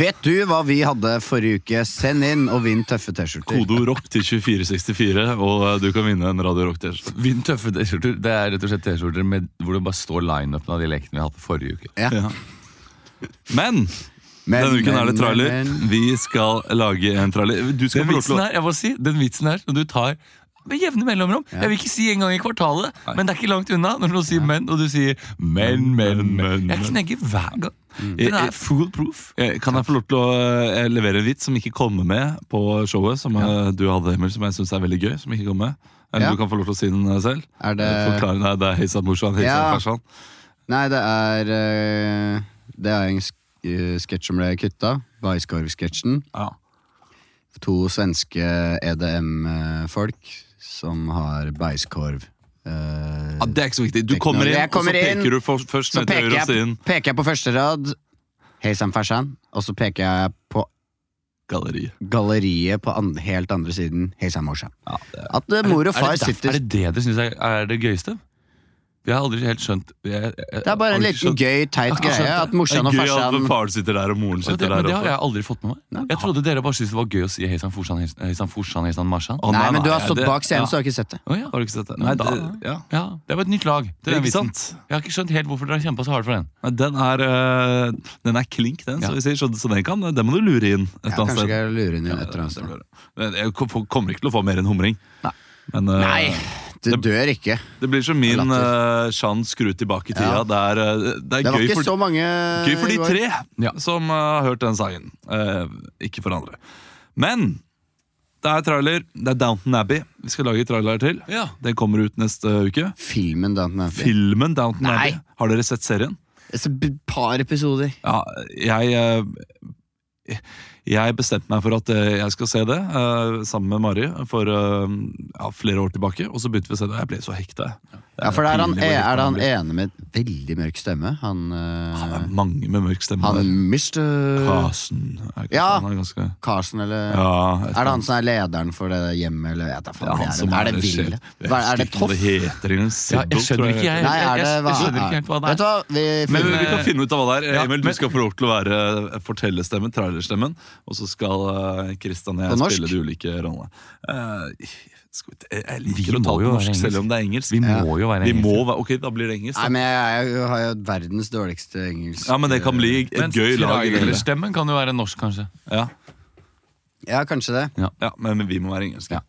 S7: Vet du hva vi hadde forrige uke? Send inn og vinn tøffe T-skjorter.
S1: Kodeord rock til 2464, og eh, du kan vinne en Radio Rock T-skjorte.
S3: Vinn tøffe T-skjorter. Det er rett og slett T-skjorter med- hvor det bare står lineupen av de lekene vi hadde forrige uke.
S7: Ja.
S1: Ja. Men
S7: Men-
S1: denne uken er det
S7: men-
S1: trailer.
S7: men-
S1: Vi skal lage en trailer. Du skal få
S3: Den
S1: lov til
S3: vitsen
S1: å
S3: her, jeg må si, den vitsen her som du tar med jevne mellomrom. Jeg vil ikke si en gang i kvartalet, men det er ikke langt unna når noen sier men, og du sier men, men, men.
S1: Men, Mm. men.
S3: Jeg knegger hver gang. Den er foolproof.
S1: Eh, Kan jeg få lov til å eh, levere en vits som ikke kommer med på showet? Som eh, du hadde, Emil, som jeg syns er veldig gøy. Som ikke kom med Eller
S7: Ja.
S1: du kan få lov til å si den eh, selv.
S7: Er det
S1: Forklare, nei, det er Heisan Morsan, Heisan
S7: Ja.
S1: Farsan.
S7: Nei, det er eh, Det er en sk eh, sketsj som ble kutta. Bajskorv-sketsjen.
S1: Ja.
S7: To svenske EDM-folk som har bajskorv. eh,
S1: Ja, Ah, det er ikke så viktig. Du kommer inn,
S7: Jeg kommer
S1: og så
S7: inn,
S1: peker du for, først
S7: Så
S1: ned til
S7: peker
S1: høyre og sier
S7: jeg, peker jeg på første rad Hei sann, farsan. Og så peker jeg på
S1: galleri.
S7: galleriet på an helt andre siden. Hei sann, morsan. At eh, mor og far
S3: er, det derf-
S7: sitter
S3: er det det dere syns er, er det gøyeste? Jeg har aldri helt skjønt jeg, jeg,
S7: Det er bare en liten gøy, teit
S3: Jeg har skjønt
S7: greie.
S3: det.
S7: At morsan og
S1: det er gøy at
S7: farsan
S1: faren sitter der, og moren
S3: det,
S1: sitter
S3: men
S1: der.
S3: det har
S1: også.
S3: jeg aldri fått med meg. Jeg trodde dere bare syntes det var gøy å si Heisan Forsan, Heisan Forsan, Heisan Marsan.
S1: Å,
S7: Nei, men du har
S1: nei,
S7: stått
S1: det-
S7: bak
S1: ja.
S7: scenen, så du har ikke sett det.
S3: Å, ja.
S1: Har du ikke sett det?
S3: Nei,
S1: Nei, det,
S3: da-
S1: ja.
S3: ja, det var et nytt lag. til den
S1: Ikke
S3: vitsen.
S1: sant?
S3: Jeg har ikke skjønt helt hvorfor dere har kjempa så hardt for den.
S1: Nei, den, er, eh, den er klink, den,
S3: Ja.
S1: så, vi sier, så, så den, kan, den må du lure inn et
S7: Ja,
S1: eller annet
S7: kanskje
S1: sted.
S7: ikke jeg lurer inn i et eller annet sted.
S1: Men Jeg kom- kommer ikke til å få mer enn humring. Men, eh,
S7: Du dør ikke.
S1: Det blir som min
S7: Latter.
S1: uh, Shan skru tilbake i tida.
S7: Ja.
S1: Det er, eh, det er
S7: Det var
S1: gøy,
S7: ikke
S1: for,
S7: så mange
S1: gøy for de
S7: i går.
S1: tre
S3: Ja.
S1: som eh, har hørt den sangen. Eh, ikke for andre. Men det er trailer. Det er Downton Abbey vi skal lage trailer til.
S3: Ja.
S1: Den kommer ut neste uke.
S7: Filmen Downton Abbey.
S1: Filmen Downton
S7: Nei.
S1: Abbey. Har dere sett serien?
S7: Et par episoder.
S1: Ja, jeg eh, Jeg bestemte meg for at eh, jeg skal se det eh, sammen med Mari for eh, ja, flere år tilbake. Og så begynte vi å se det. Jeg ble så hekta.
S7: Ja, for er, han, e-
S1: Pinlig hvor
S7: er det
S1: hekta
S7: han
S1: blir.
S7: ene med veldig mørk stemme? Han, eh,
S1: Han er mange med mørk stemme.
S7: han
S1: der.
S7: Mr.
S1: Karsen er ikke
S7: Ja.
S1: han er ganske
S7: Carson, eller
S1: ja,
S7: Er det han som er lederen for det hjemmet, eller vet jeg faen hva det er? Er det Ville? Hva- Er det Toff?
S1: Hva det heter engang.
S3: Ja, jeg skjønner ikke, jeg,
S7: Nei,
S3: jeg,
S7: er det
S3: jeg,
S7: hva?
S3: skjønner ikke helt hva det
S7: Vet du hva,
S3: er.
S7: vi
S1: Men
S7: finner
S1: vi kan
S3: eh,
S1: finne ut av hva det er.
S3: ja,
S1: Emil,
S3: men-
S1: du skal få lov til å være eh, fortellerstemmen, trailerstemmen. Og så skal eh, Christian
S7: På
S1: og jeg
S7: norsk?
S1: spille de ulike rollene. Eh, skal vi, t- jeg- jeg
S3: Vi
S1: liker å ta
S3: må
S1: det på
S3: jo være
S1: norsk,
S3: engelsk.
S1: selv om det er engelsk.
S3: Vi må jo være
S1: Vi må
S3: engelske.
S1: være, ok, da blir det engelsk.
S7: Nei,
S1: da.
S7: men jeg, jeg har jo verdens dårligste engelsk.
S1: Ja, men det kan bli et
S3: Men
S1: gøy lag. i det hele.
S3: trailerstemmen kan jo være norsk, kanskje.
S1: Ja,
S7: Ja, kanskje det.
S1: ja men, men vi må være engelske.
S3: Ja.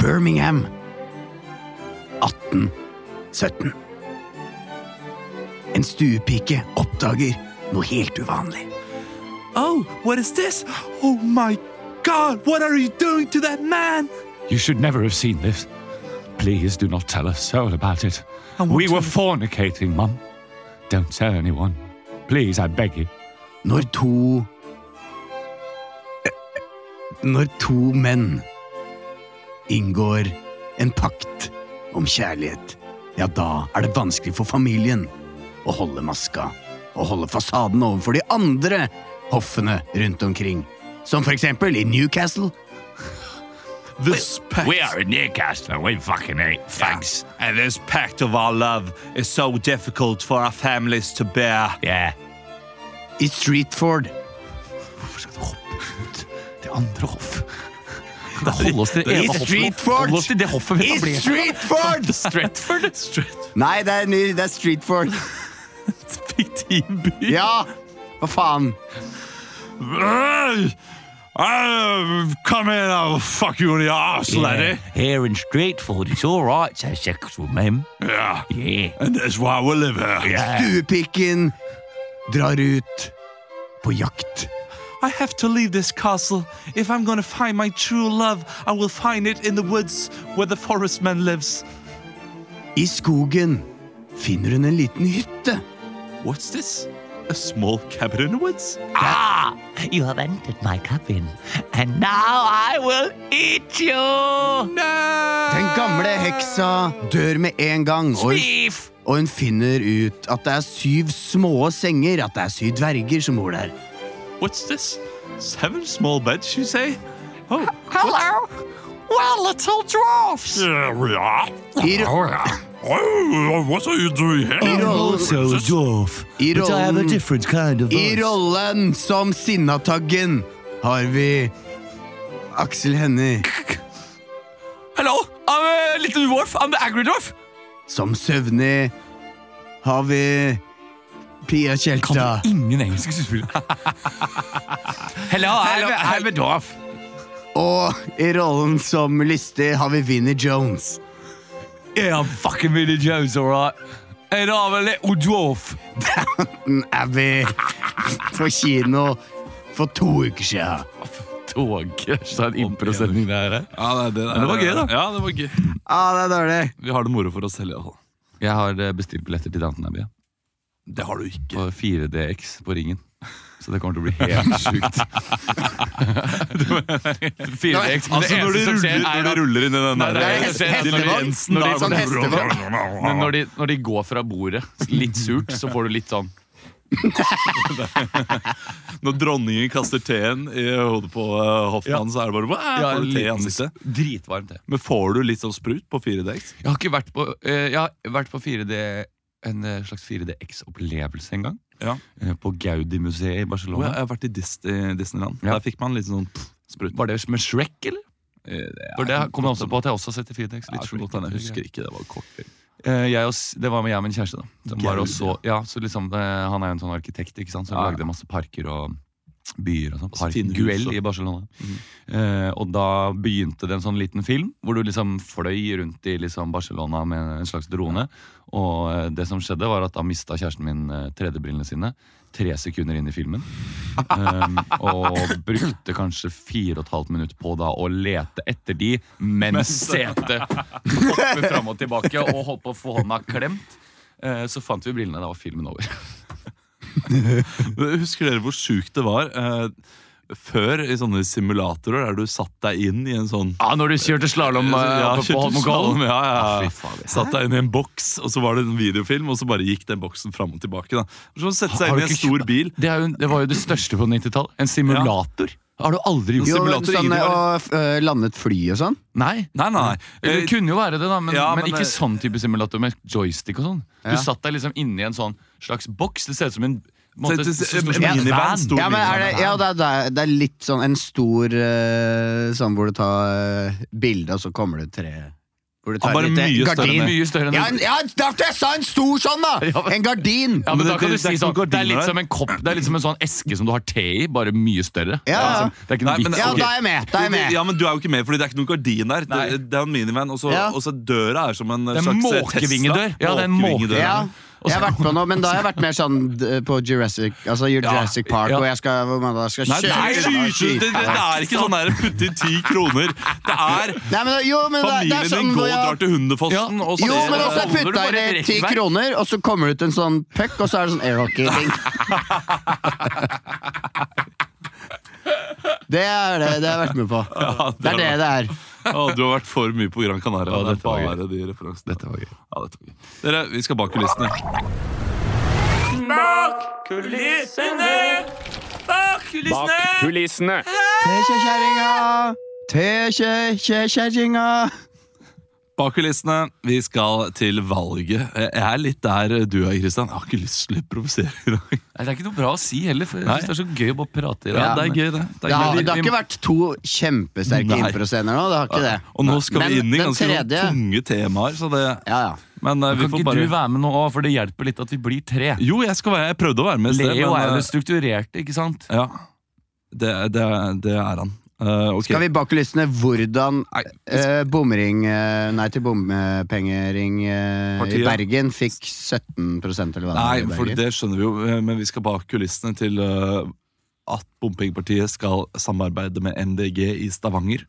S7: Birmingham 1817. En stuepike oppdager noe helt uvanlig.
S1: Oh, what is this? Oh my god, what are you doing to that man?
S3: You should never have seen this. Please do not tell a soul about it. We were fornicating, mum. Don't tell anyone. Please, I beg you.
S7: Når to Når to menn inngår en pakt om kjærlighet, ja, da er det vanskelig for familien å holde maska og holde fasaden overfor de andre hoffene rundt omkring, som for eksempel i Newcastle.
S1: This pact,
S3: in Newcastle. We fucking hate fags.
S1: and this pact of our love is so difficult for our families to bear.
S3: Yeah.
S7: I Streetford.
S3: Hvorfor skal du hoppe ut til andre hoff? Hold oss til det
S7: I
S3: ene hoffet.
S7: Streetford!
S3: Hold oss til det hoffet vi
S7: I
S3: etablerte.
S7: Streetford!
S3: Stretford?
S7: Nei, det er, ny- det er Streetford.
S3: Fiktiv by.
S7: Ja! Hva faen?
S3: Eh,
S1: Uh, come in, I'll fuck you in the ass, laddie.
S3: Here in Stretford, it's all right, says sexual mem.
S1: Yeah,
S3: Yeah.
S1: and that's why we live here.
S7: Duepikken drar ut på jakt.
S1: I have to leave this castle. If I'm gonna find my true love, I will find it in the woods where the forest man lives.
S7: I skogen finner hun en liten hytte.
S1: What's this? A small cabin in the woods?
S3: You have entered my cabin, and now I will eat you!
S7: Den gamle heksa dør med en gang, og hun,
S3: Beef!
S7: og hun finner ut at det er syv små senger, at det er syv dverger som bor der.
S1: What's this? Seven small beds, you say? Oh,
S3: Hello! Well, little dwarfs!
S7: I, ro
S1: what are you doing
S7: i, rollen,
S10: dwarf,
S7: i, rollen,
S10: different kind of
S7: I rollen som Sinnataggen har vi Aksel Hennie.
S3: Hello, I'm a little dwarf. I'm the angry dwarf.
S7: Som Søvnig har vi Pia Tjelta.
S3: Ingen engelske skuespillere. Hello, I'm, I'm a dwarf.
S7: Og i rollen som lystig har vi Vinnie Jones.
S3: Yeah, I'm fucking Vinnie Jones, all right. And I'm a little dwarf.
S7: Den Mm, er vi på kino for to uker sia.
S3: Togkrasja en improsending, det her.
S1: Ja, det,
S3: det var gøy, da.
S1: Ja, det var gøy.
S7: Ah, det er dårlig.
S1: Vi har det moro for oss selv, iallfall.
S3: Jeg har eh, bestilt billetter til Downton Abbey ja,
S1: Det har du ikke.
S3: på 4DX på Ringen. Så det kommer til å bli helt sjukt. 4DX, men
S1: Altså,
S3: det
S1: når de
S3: eneste
S1: ruller,
S3: som skjer,
S1: når
S3: er
S1: de
S3: at
S1: ruller inn i den
S3: Nei,
S1: der
S3: det er
S7: hest-
S1: Dilly
S7: hestevogn.
S1: Jensen,
S3: Når de-
S1: da er det
S7: sånn
S1: bare-
S3: Men når de, når de går fra bordet, litt surt, så får du litt sånn
S1: Når dronningen kaster teen i hodet på eh, Hoffmann, så er det bare "Wow,
S3: ja,
S1: får du te i
S3: liten
S1: ansiktet.
S3: Dritvarmt te.
S1: Men får du litt sånn sprut på 4DX?
S3: Jeg har ikke vært på, eh, jeg har vært på 4D, en eh, slags 4DX-opplevelse en gang.
S1: Ja.
S3: Eh, på Gaudi-museet i
S1: Jeg
S3: Barcelona.
S1: har vært i Dis eh, Disneyland.
S3: Ja.
S1: Der fikk man litt sånn pff, sprut. Eh,
S3: Var det med Shrek, eller? For det kom jeg også på at jeg også har sett i
S1: Litt
S3: 4DX. Litt
S1: så
S3: Shrek.
S1: godt, jeg husker ikke. Det var kort film.
S3: Eh, jeg og, s- det var med jeg og min kjæreste. da Som var
S1: Gaudi,
S3: og så- ja, så liksom, det, Han er jo en sånn arkitekt ikke sant? som
S1: Ja, ja.
S3: lagde masse parker og byer. og sånn
S1: Og så
S3: Park
S1: fine hus
S3: Guel
S1: og- Mhm.
S3: i Barcelona. Eh, og da begynte det en sånn liten film hvor du liksom fløy rundt i liksom Barcelona med en slags drone. Og eh, det som skjedde var at da mista kjæresten min eh, 3D-brillene sine tre sekunder inn i filmen. Um, og brukte kanskje fire og et halvt minutt på da å lete etter de mens setet hopper fram og tilbake og holdt på å få hånda klemt. Eh, Så fant vi brillene. Da var filmen over.
S1: Men Husker dere hvor sjukt det var? eh, Før, i sånne simulatorer, der du satt deg inn i en sånn
S3: Ja, Når du kjørte slalåm
S1: Ja,
S3: på
S1: kjørte slalom,
S3: Holmenkollen?
S1: ja, ja,
S3: Ja, fy
S1: ja.
S3: faen.
S1: Satt deg inn i en boks, og så var det en videofilm, og så bare gikk den boksen fram og tilbake. Da. Så sette seg
S3: Har
S1: inn
S3: du
S1: i en
S3: ikke
S1: stor
S3: kjørt-
S1: bil.
S3: Det, er jo, det var jo det største på 90-tallet. En simulator. Har du aldri gjort
S7: Jo, men
S3: det?
S1: Simulator,
S7: sånn,
S1: ingenting var
S7: og øh, landet fly og sånn.
S3: Nei. Eh,
S1: Nei, nei, nei.
S3: Det kunne jo være det, da, men,
S1: Ja,
S3: men
S1: men
S3: ikke
S1: det-
S3: sånn type simulator med joystick og sånn. Du satt deg liksom inni en sånn slags boks. Det ser ut som en på en måte,
S1: Det- det-
S3: så stor
S1: en
S3: som en
S1: minivan,
S3: van.
S1: stor
S7: Ja, men er det, ja det, er, det er- det er litt sånn en stor øh, sånn hvor du tar øh, bilde, og så kommer det tre Hvor du
S1: Ja,
S7: tar
S1: bare
S7: litt øh,
S1: mye større
S7: gardin.
S1: enn det.
S3: Mye større enn
S7: Ja,
S3: en-
S7: en, ja, derfor jeg sa en stor sånn,
S3: Ja,
S7: da!
S3: men-
S7: En gardin!
S3: Ja, men
S1: Men
S3: da
S1: det-
S3: kan du
S1: det- det
S3: si
S1: er ikke
S3: sånn
S1: noen
S3: Det er
S1: gardiner
S3: litt
S1: der.
S3: som en kopp Det er litt som en sånn eske som du har te i, bare mye større.
S7: Ja, ja.
S3: Det er ikke
S1: Nei,
S3: noe
S1: men- altså,
S3: vits.
S7: Ja,
S1: ok.
S7: da er jeg med! Da er jeg med.
S1: Ja, men Du er jo ikke med, fordi det er ikke noen gardin der. Det,
S3: Nei.
S1: det er en minivan, og så,
S7: Ja.
S1: og så døra er som en
S3: er
S1: slags eh,
S3: en
S1: Tesla.
S3: måkevingedør. Ja, det er en
S1: Måkevingedør.
S7: Ja.
S3: Og
S7: Jeg
S3: så-
S7: har vært på noe, men da har jeg vært mer sånn d- på Jurassic, altså Jurassic Park,
S3: ja.
S7: og jeg skal, hvor man da skal
S1: Nei,
S7: kjøre
S1: det, er skyte, det, det er ikke sånn der putte inn ti kroner. Det er
S7: Nei, men, jo, men det, det
S1: familien
S7: er
S1: din
S7: sånn
S1: går
S7: hvor
S1: og drar
S7: jeg,
S1: til Hundefossen,
S3: Ja.
S1: og så
S7: Jo, men
S3: da
S7: også
S3: holder
S7: jeg
S3: du bare
S7: putta i
S3: et
S7: ti
S3: rekkverk.
S7: kroner, og så kommer det ut en sånn puck, og så er det sånn airhockey-ting. Det er det det har jeg vært med på. Det er det det er.
S1: Å, du har vært for mye på Gran Canaria.
S3: Ja,
S1: det er
S3: dette var
S1: bare de referansene.
S3: Dette var gøy.
S1: Ja, dette var gøy. Dere, vi skal bak kulissene.
S11: Kulissene!
S7: Tekjekjerringa! Tekjekjerringa!
S1: Bak kulissene. Vi skal til valget. eh, Jeg er litt der du er, Kristian. Jeg har ikke lyst til å provosere i dag.
S3: Nei, Det er ikke noe bra å si heller, for jeg
S1: Nei.
S3: synes det er så gøy å bare prate i
S1: Ja, det er gøy, det. Det er gøy.
S3: gøy. Vi-
S7: Det har
S3: vi-
S7: ikke vært to kjempesterke
S1: Nei.
S7: impro-scener nå. Det har ikke det.
S1: Og nå skal vi
S7: Men
S1: inn i
S7: den
S1: ganske sånn
S7: tredje-
S1: tunge temaer, så det Men eh,
S3: Men
S1: vi
S3: Kan
S1: får
S3: ikke
S1: bare
S3: du være med nå òg, for det hjelper litt at vi blir tre?
S1: Jo, jeg skal være Jeg prøvde å være med i sted,
S3: Leo
S1: men,
S3: er jo
S1: eh,
S3: det strukturerte, ikke sant?
S1: Ja. Det, det, det er han. Eh, ok.
S7: Skal vi bak kulissene hvordan eh, bomring eh, Nei, til bompengering eh, i
S1: Partiet.
S7: Bergen fikk 17 eller hva det var i
S1: Nei, for
S7: Bergen.
S1: det skjønner vi jo, eh, men vi skal bak kulissene til eh, at bompengepartiet skal samarbeide med MDG i Stavanger.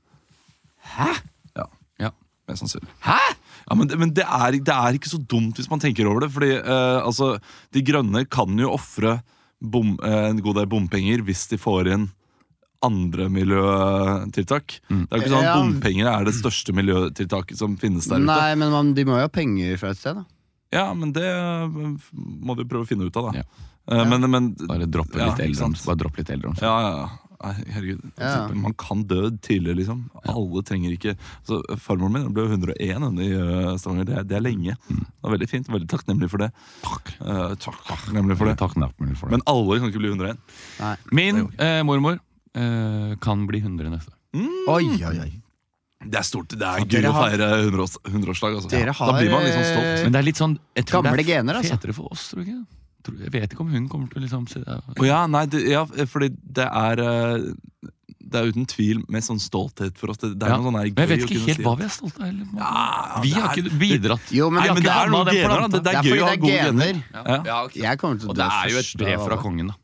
S1: Hæ? Ja,
S3: ja
S1: mest sannsynlig. Hæ? Ja, men det, men det, er, det er ikke så dumt hvis man tenker over det, fordi eh, altså, De Grønne kan jo ofre bom, eh, en god del bompenger hvis de får inn andre miljøtiltak.
S3: Mm.
S1: Det er jo ikke sånn at
S7: Ja.
S1: Bompenger er det største miljøtiltaket som finnes der ute.
S7: Nei, men man, de må jo ha penger fra et sted, da.
S1: Ja, men det øh, må vi prøve å finne ut av, da. Eh, Men, men
S3: Bare droppe
S1: Ja,
S3: litt
S1: ikke sant.
S3: eldreomsorg. Bare droppe litt eldreomsorg.
S1: Ja, ja, ja. Nei, herregud.
S3: Ja.
S1: Man kan dø tidligere, liksom. Alle trenger ikke Så øh, Farmoren min ble jo 101 hun, i øh, Stavanger. Det er, det er lenge.
S3: Mm.
S1: Det var Veldig fint. Veldig takknemlig for det. Takk. takk, takknemlig for det.
S3: Takknemlig for det.
S1: Men alle kan ikke bli 101.
S3: Min eh, mormor eh, kan bli 100 neste år.
S7: Oi, oi, oi.
S1: Det er stort. Det
S3: Ja,
S1: er
S3: dere
S1: gøy å
S3: har-
S1: feire 100-års- 100-årsdag. Altså.
S3: Dere
S1: da blir man litt sånn
S3: eh,
S1: stolt.
S3: Men det er litt sånn jeg tror
S7: Gamle
S3: det er
S7: gener, altså.
S3: Fetere for oss, tror du ikke? Tror- Jeg vet ikke om hun kommer til å liksom si det.
S1: Å ja, nei, det, ja, fordi det er eh, Det er uten tvil mest sånn stolthet for oss. Det, det er
S3: Ja.
S1: noe sånn her
S3: Men jeg
S1: gøy
S3: vet
S1: å
S3: ikke
S1: kunne
S3: helt
S1: si
S3: hva
S1: at-
S3: vi er stolte av. heller.
S1: Ja,
S3: Vi
S1: det
S3: har
S1: er-
S3: ikke bidratt.
S7: eh, Jo, men
S3: Nei,
S7: vi har
S3: men
S7: ikke
S3: det er
S7: havnet i
S3: noen
S7: den
S3: gener, da.
S7: planta.
S3: Det- det er gøy å ha
S7: fordi det er
S3: gode
S7: gener.
S3: gener. Ja.
S7: Ja. Jeg kommer til å
S3: Og
S7: dø
S3: det er jo et
S7: først
S3: brev
S7: av
S3: fra
S7: alle.
S3: kongen, da.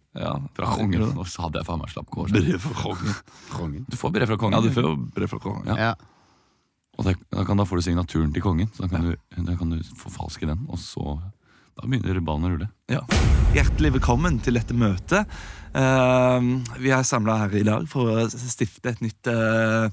S3: fra kongen. Nå sa det faen meg slapp kår.
S1: Brev fra kongen.
S3: Du får brev fra kongen.
S1: Ja, du får brev fra kongen.
S7: Ja.
S3: Og det, da, kan, da får du signaturen til kongen, så da kan, du, da kan du forfalske den. Og så Da begynner ballen å rulle.
S1: Ja. Hjertelig velkommen til dette møtet. Eh, vi er samla her i dag for å stifte et nytt eh,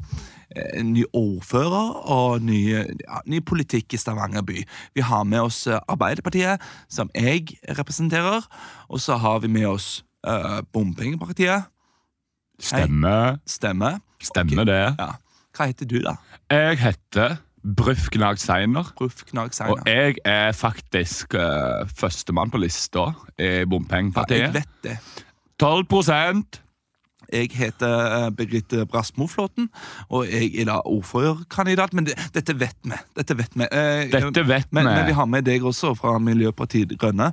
S1: en ny ordfører og ny, ja, ny politikk i Stavanger by. Vi har med oss eh, Arbeiderpartiet, som jeg representerer. Og så har vi med oss eh, Bompengepartiet.
S3: Stemmer.
S1: Stemmer.
S3: Stemmer det.
S1: Hva heter du, da?
S3: Jeg heter Bruf Gnag Seiner.
S1: Seiner.
S3: Og jeg er faktisk eh, førstemann på lista i
S1: Jeg
S3: bompengepartiet.
S1: vet det.
S3: 12 prosent.
S1: Jeg heter eh, Birgitte Brasmoflåten, og jeg er da ordførerkandidat. Men det, dette vet vi. Dette vet vi. Eh,
S3: Dette vet
S1: men,
S3: vi.
S1: men vi har med deg også, fra Miljøpartiet De Grønne.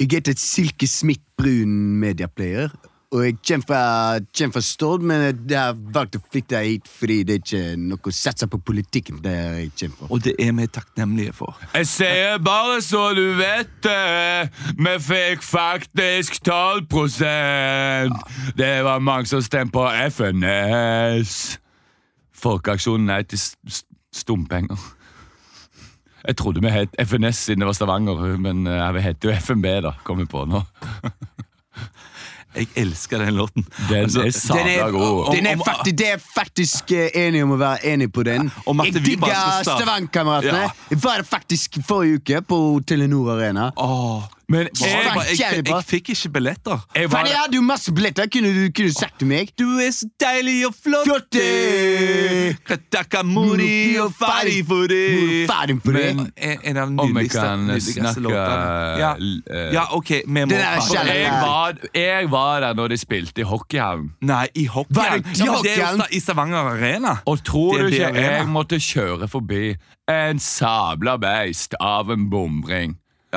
S7: Jeg heter Silke Smith-Brun medieplayer, og jeg kommer fra, kommer fra Stord, men jeg har valgt å flytte hit fordi det er ikke noe å satse på politikken der jeg kommer fra.
S1: Og det er vi takknemlige for.
S3: Jeg sier bare så du vet det, vi fikk faktisk 12 prosent. Det var mange som stemte på FNS. Folkeaksjonen Nei til s- s- stumpenger. Jeg trodde vi het FNS siden det var Stavanger, men eh, vi heter jo FNB, da. Kommer jeg på nå.
S1: Jeg elsker den låten.
S3: Den
S1: Altså,
S3: er sabla god.
S7: Den er faktisk, det er faktisk eh, enig om å være enig på den.
S1: om at
S7: Jeg
S1: vi bare
S7: digger
S1: skal starte-
S7: Stavanger-kameratene.
S1: Ja.
S7: Jeg var der faktisk forrige uke på Telenor Arena.
S3: Men
S7: jeg,
S1: jeg, jeg, jeg fikk ikke billetter.
S7: Faen, jeg hadde jo masse billetter. Kunne du kunne du sagt til meg?
S1: Du er så deilig og flott! Katakkamori og ferdig for det!
S7: Ferdig for det.
S3: Men-
S1: En, en av de
S3: Om jeg
S1: nydeligste-
S3: kan
S1: nydeligste
S3: snakke
S1: låtene. Ja.
S3: eh,
S1: ja, ok. Vi må
S7: Det der er
S1: For
S7: kjærlighet.
S3: jeg
S1: jeg var-
S3: var, jeg var der når de spilte i Hockeyhavn.
S1: Nei, i
S7: Hva er
S1: hockeyhjelm.
S7: det-
S1: Ja, men det er
S7: hockeyhjelm?
S1: jo sta- i Stavanger Arena.
S3: Og tror du
S1: DNB
S3: ikke
S1: Arena.
S3: jeg måtte kjøre forbi en sabla beist av en bomring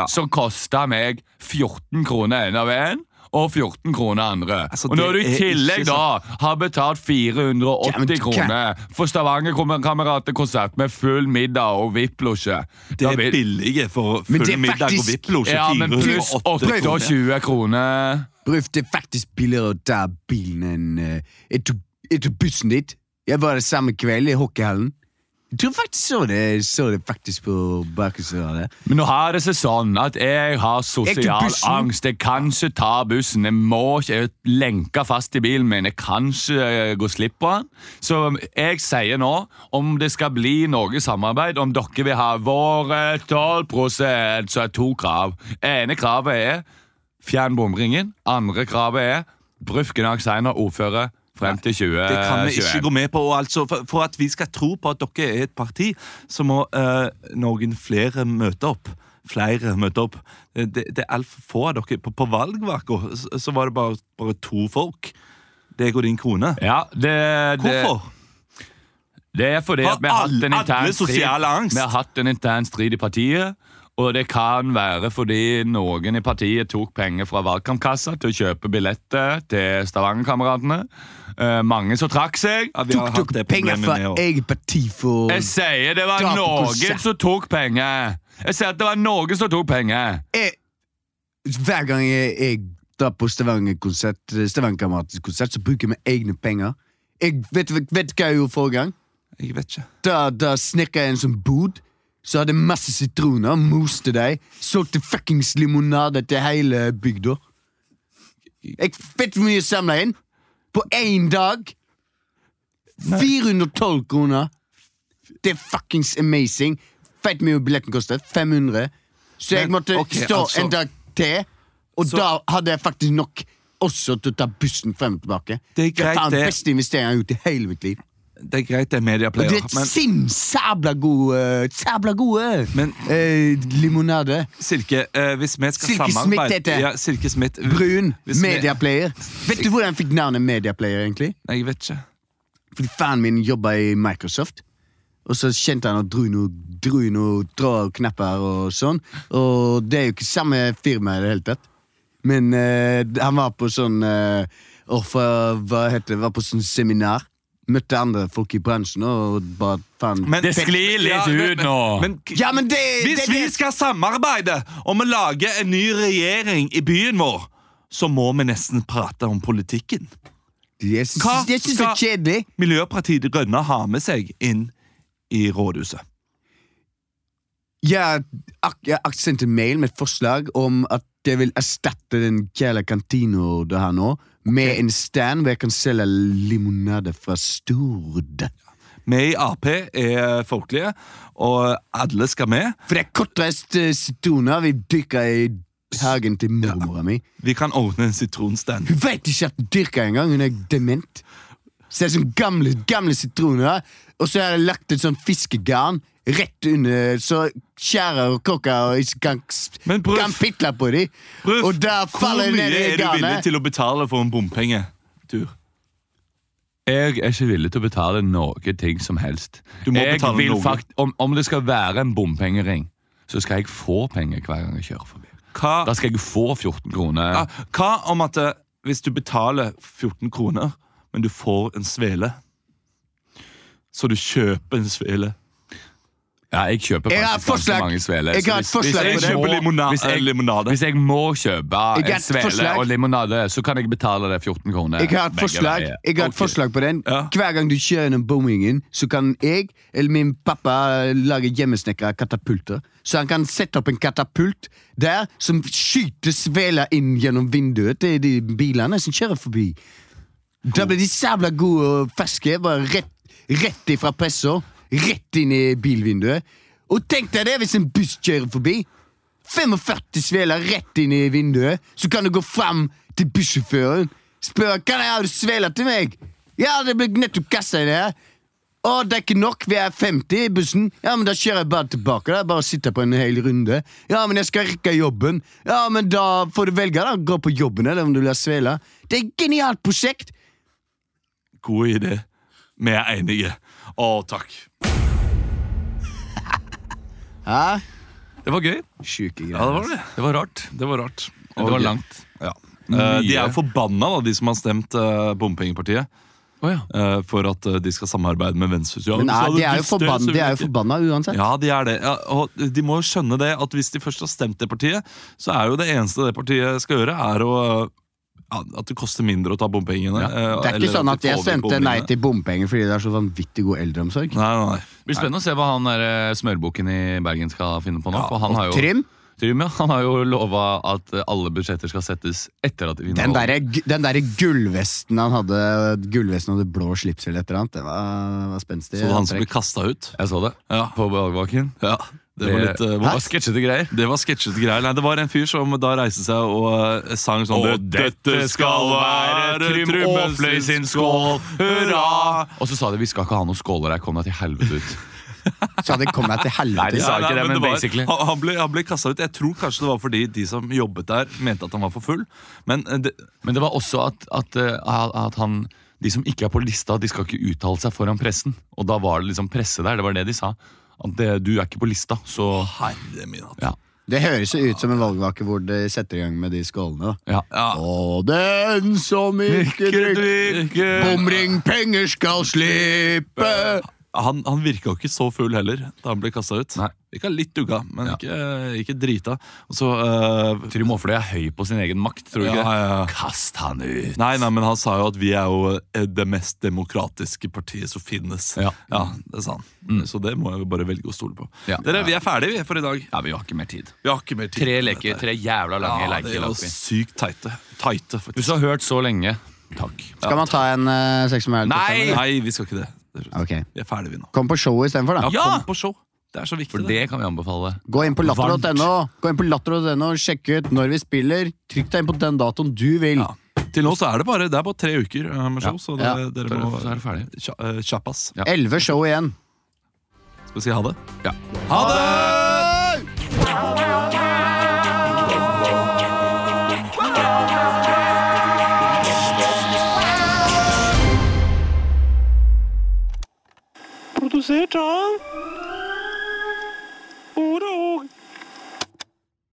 S3: som kosta meg 14 kroner en av en, og 14 kroner andre.
S1: Altså,
S3: og når du
S1: det
S3: i
S1: er
S3: tillegg
S1: ikke
S3: da har betalt 480
S7: Ja, men hva-
S3: kroner for Stavanger-kameratekonsert med full middag og VIP-losje
S1: Det er billige for
S7: Men det
S1: full
S7: er
S1: middag og
S7: faktisk-
S1: VIP-losje.
S3: Ja, men pluss
S1: 480 kroner.
S3: 28 kroner.
S7: Bruf, det er faktisk billigere å ta bilen enn eh, Jeg tok- jeg tok bussen dit. Jeg var der samme kveld i hockeyhallen. Jeg tror faktisk så det, så det faktisk på bakhuset. av det.
S3: Men nå har det seg sånn at jeg har
S7: Jeg
S3: sosial
S7: tok bussen.
S3: angst. Jeg kan ikke ta bussen. Jeg må ikke jeg er lenka fast i bilen min. Jeg kan ikke eh, gå slipp på den. Så jeg sier nå, om det skal bli noe samarbeid, om dere vil ha våre 12 så er det to krav. ene kravet er fjern bomringen. Andre kravet er Brufgen Akseiner, ordfører. Frem til 2021.
S1: Det kan vi ikke gå med på. og Altså, for, for at vi skal tro på at dere er et parti, så må eh, noen flere møte opp. Flere møte opp. Eh, Det, det er altfor få av dere. På, på valgvaka så- så var det bare, bare to folk. Deg og din kone.
S3: Ja, det,
S1: Hvorfor?
S3: Det er fordi
S1: Har
S3: at vi har hatt en
S1: alle- alle
S3: intern strid,
S1: sosial angst?
S3: Vi har hatt en intern strid i partiet. Og det kan være fordi noen i partiet tok penger fra valgkampkassa til å kjøpe billetter til Stavanger-kameratene. Eh, mange som trakk seg.
S7: Tok dere penger fra eget parti for
S3: Jeg sier det var
S7: Dra på
S3: noen
S7: konsert.
S3: som tok penger. Jeg sier at det var noen som tok penger.
S7: Hver gang jeg, jeg drar på Stavanger-konsert, Stavanger-kameratens konsert, så bruker vi egne penger. Jeg vet, vet, vet hva jeg gjorde forrige gang?
S1: Jeg vet ikke.
S7: Da, da snekka jeg en sånn bod. Så hadde jeg masse sitroner, moste dem, solgte fuckings limonade til hele bygda. Jeg vet hvor mye jeg samla inn! På én dag! 412 kroner! Det er fuckings amazing. Vet mye billetten kostet? 500. Så jeg
S1: Men,
S7: måtte
S1: ok,
S7: stå
S1: altså-
S7: en dag til, og da hadde jeg faktisk nok også til å ta bussen frem og tilbake.
S1: Det er greit,
S7: faen
S1: det.
S7: beste investeringen jeg har gjort i hele mitt liv.
S1: Det er greit, det er
S7: Og
S1: medieplayer.
S7: det er et simsabla god eh, Sabla gode eh, limonade.
S1: Silke, eh, hvis vi skal
S7: Silke
S1: samarbeide
S7: Smith heter jeg.
S1: ja, Silke Smith.
S7: Brun
S1: Hvis vi-
S7: mediaplayer. Vet du hvordan jeg fikk navnet mediaplayer, egentlig?
S1: Nei, jeg vet ikke.
S7: Fordi faren min jobba i Microsoft. Og så kjente han at dro noe, dro noe tråder og knapper og sånn. Og det er jo ikke samme firma i det hele tatt. Men eh, han var på sånn eh, og for, Hva heter det? Var på sånn seminar. Møtte andre folk i bransjen og bare faen
S3: Det sklir litt Ja, men- ut nå.
S1: men-
S7: ja, men det, det,
S1: Hvis
S7: det,
S1: vi skal samarbeide om å lage en ny regjering i byen vår, så må vi nesten prate om politikken.
S7: Jeg
S1: Hva
S7: jeg synes det er kjedelig.
S1: Miljøpartiet De Grønne ha med seg inn i rådhuset?
S7: Jeg, ak jeg ak sendte mail med et forslag om at jeg vil erstatte den jævla kantina du har nå, med en stand hvor jeg kan selge limonade fra Stord.
S1: Vi i Ap er folkelige, og alle skal med.
S7: For det er kortreist eh, sitroner vi dyrker i hagen til mormora mi.
S1: Vi kan ordne en sitronstand.
S7: Hun veit ikke at hun dyrker engang, hun er dement. Så det er sånn gamle, gamle sitroner, og så har jeg lagt et sånn fiskegarn rett under, så skjærer og kokker og ikke kan,
S1: Men Bruf-
S7: kan pitle på dem.
S1: Bruf,
S7: Og der
S1: Hvor
S7: faller hun
S1: mye
S7: ned i
S1: er du villig
S7: garnet.
S1: til å betale for en bompengetur?
S3: Jeg er ikke villig til å betale noe ting som helst.
S1: Du må
S3: jeg
S1: betale
S3: vil
S1: noe.
S3: fakt- om, om det skal være en bompengering, så skal jeg få penger hver gang jeg kjører forbi.
S1: Hva,
S3: Da skal jeg få 14 kroner.
S1: ja, hva om at eh, hvis du betaler 14 kroner, men du får en svele? Så du kjøper en svele?
S3: Ja, jeg kjøper
S7: Jeg har et
S3: faktisk ganske
S7: forslag.
S3: mange sveler.
S7: Jeg
S3: så
S7: har et
S3: hvis-
S7: forslag
S3: hvis jeg
S7: på det.
S3: må-
S1: Kjøper limona-
S3: hvis jeg-
S1: limonade.
S3: Hvis jeg må kjøpe
S7: Jeg har
S3: en
S7: et
S3: svele
S7: forslag.
S3: og limonade, så kan jeg betale det 14 kroner.
S7: Jeg har et
S3: begge
S7: forslag,
S3: veier.
S7: jeg har et
S3: Ok.
S7: forslag på den. Hver gang du kjører gjennom bommingen, så kan jeg eller min pappa lage hjemmesnekra katapulter. Så han kan sette opp en katapult der som skyter sveler inn gjennom vinduet til de bilene som kjører forbi. Da blir de sabla gode og ferske. Bare rett, rett ifra pressa, rett inn i bilvinduet. Og tenk deg det hvis en buss kjører forbi. 45 sveler rett inn i vinduet, så kan du gå fram til bussjåføren. Spør kan jeg ha sveler til meg. Ja, det ble nettopp kasta inn her. Å, det er ikke nok, vi er 50 i bussen. Ja, men da kjører jeg bare tilbake. da, Bare sitter på en hel runde. Ja, men jeg skal rekke jobben. Ja, men da får du velge, da. Gå på jobben, eller om du vil ha sveler. Det er et genialt prosjekt!
S1: God idé. Vi er enige. Å, takk.
S7: Hæ?
S1: Det var gøy.
S7: Sjuke greier.
S1: Ja, det var det.
S3: Det var rart.
S1: Det var rart.
S3: Det var
S1: Og-
S3: langt.
S1: Ja. Eh, de er
S3: Mye.
S1: jo forbanna, da, de som har stemt eh, bompengepartiet.
S3: Å ja.
S1: eh, for at eh, de skal samarbeide med Venstre. Ja,
S7: Men
S1: så
S7: nei,
S1: hadde
S7: de er
S1: du
S7: jo
S1: stø, så
S7: forbanna, de
S1: vil
S7: er
S1: ikke-
S7: jo forbanna uansett.
S1: Ja, de er det. Ja, og de må jo skjønne det at hvis de først har stemt det partiet, så er jo det eneste det partiet skal gjøre, er å ja, at det koster mindre å ta bompengene. eh,
S7: Det er
S1: eller
S7: ikke sånn at
S1: de
S7: jeg
S1: får vekk
S7: stemte nei
S1: bompengene.
S7: til bompenger fordi det er så vanvittig god eldreomsorg.
S1: Nei, nei, nei.
S3: Det blir spennende å se hva han der eh, smørbukken i Bergen skal finne på nå. for han har jo,
S7: Trym,
S3: Trym, ja. Han har jo lova at eh, alle budsjetter skal settes etter at de vinner
S7: den derre
S3: valget.
S7: den derre gullvesten han hadde, gullvesten og det blå slips eller et eller annet, det var, det var spenstig.
S1: Så han som
S7: antrekk.
S1: blir kasta ut?
S3: Jeg så det
S1: Ja.
S3: på valgvaken.
S1: ja. Det var litt, eh,
S3: Hæ? sketsjete greier.
S1: Det var sketsjete greier. Nei, det var en fyr som da reiste seg og eh, sang sånn
S3: Og dette skal være Trym Aafløy sin skål.
S1: hurra!
S3: Og så sa de vi skal ikke ha noen skåler her, kom deg til helvete ut.
S7: Sa de kom deg til helvete?
S3: Nei, de sa ikke det, men,
S1: var-
S3: basically.
S1: Han, han ble, han ble kasta ut. Jeg tror kanskje det var fordi de som jobbet der, mente at han var for full. Men eh, det,
S3: Men det var også at, at, eh, at han De som ikke er på lista, de skal ikke uttale seg foran pressen. Og da var det liksom presse der. Det var det de sa. At det, du er ikke på lista, så
S1: Herre min hatt.
S3: Ja.
S7: Det høres jo ut som en valgvake hvor de setter i gang med de skålene.
S3: da.
S7: Og den som ikke drikker bomringpenger, skal slippe!
S1: han, han virka jo ikke så full heller da han ble kasta ut. Virka litt dugga, men ikke, ikke drita. Og så
S3: eh, Trym Aafløy er høy på sin egen makt, tror du ikke det?
S1: Kast han ut! Nei, nei, men han sa jo at vi er jo eh, det mest demokratiske partiet som finnes. Ja, det sa han.
S7: Mm.
S1: Så det må jeg jo bare velge å stole på. Dere, vi er ferdige vi, for i dag.
S3: Ja, Vi har ikke mer tid.
S1: Vi har ikke mer tid.
S3: Tre leker, tre jævla lange
S1: Ja,
S3: leker.
S1: det er jo
S3: lagt vi.
S1: sykt teite. teite faktisk.
S3: Hvis du har hørt så lenge, takk.
S7: Skal man ta en uh, seks med
S3: Nei!
S1: Nei, vi skal ikke det.
S7: Ok.
S1: Vi er ferdige, vi nå.
S7: Kom på showet istedenfor, da.
S1: Ja, Kom på show! Det er så viktig.
S3: For det kan vi anbefale.
S7: Gå inn på latter.no, Gå inn på latter.no, sjekk ut når vi spiller. Trykk deg inn på den datoen du vil.
S1: Til nå så er det bare det er bare tre uker eh, med show, så det,
S7: Ja.
S1: dere må så er det ferdig. Kjappas.
S7: Elleve show igjen.
S1: Skal vi si ha det?
S3: Ja.
S1: Ha det!
S12: Produsert av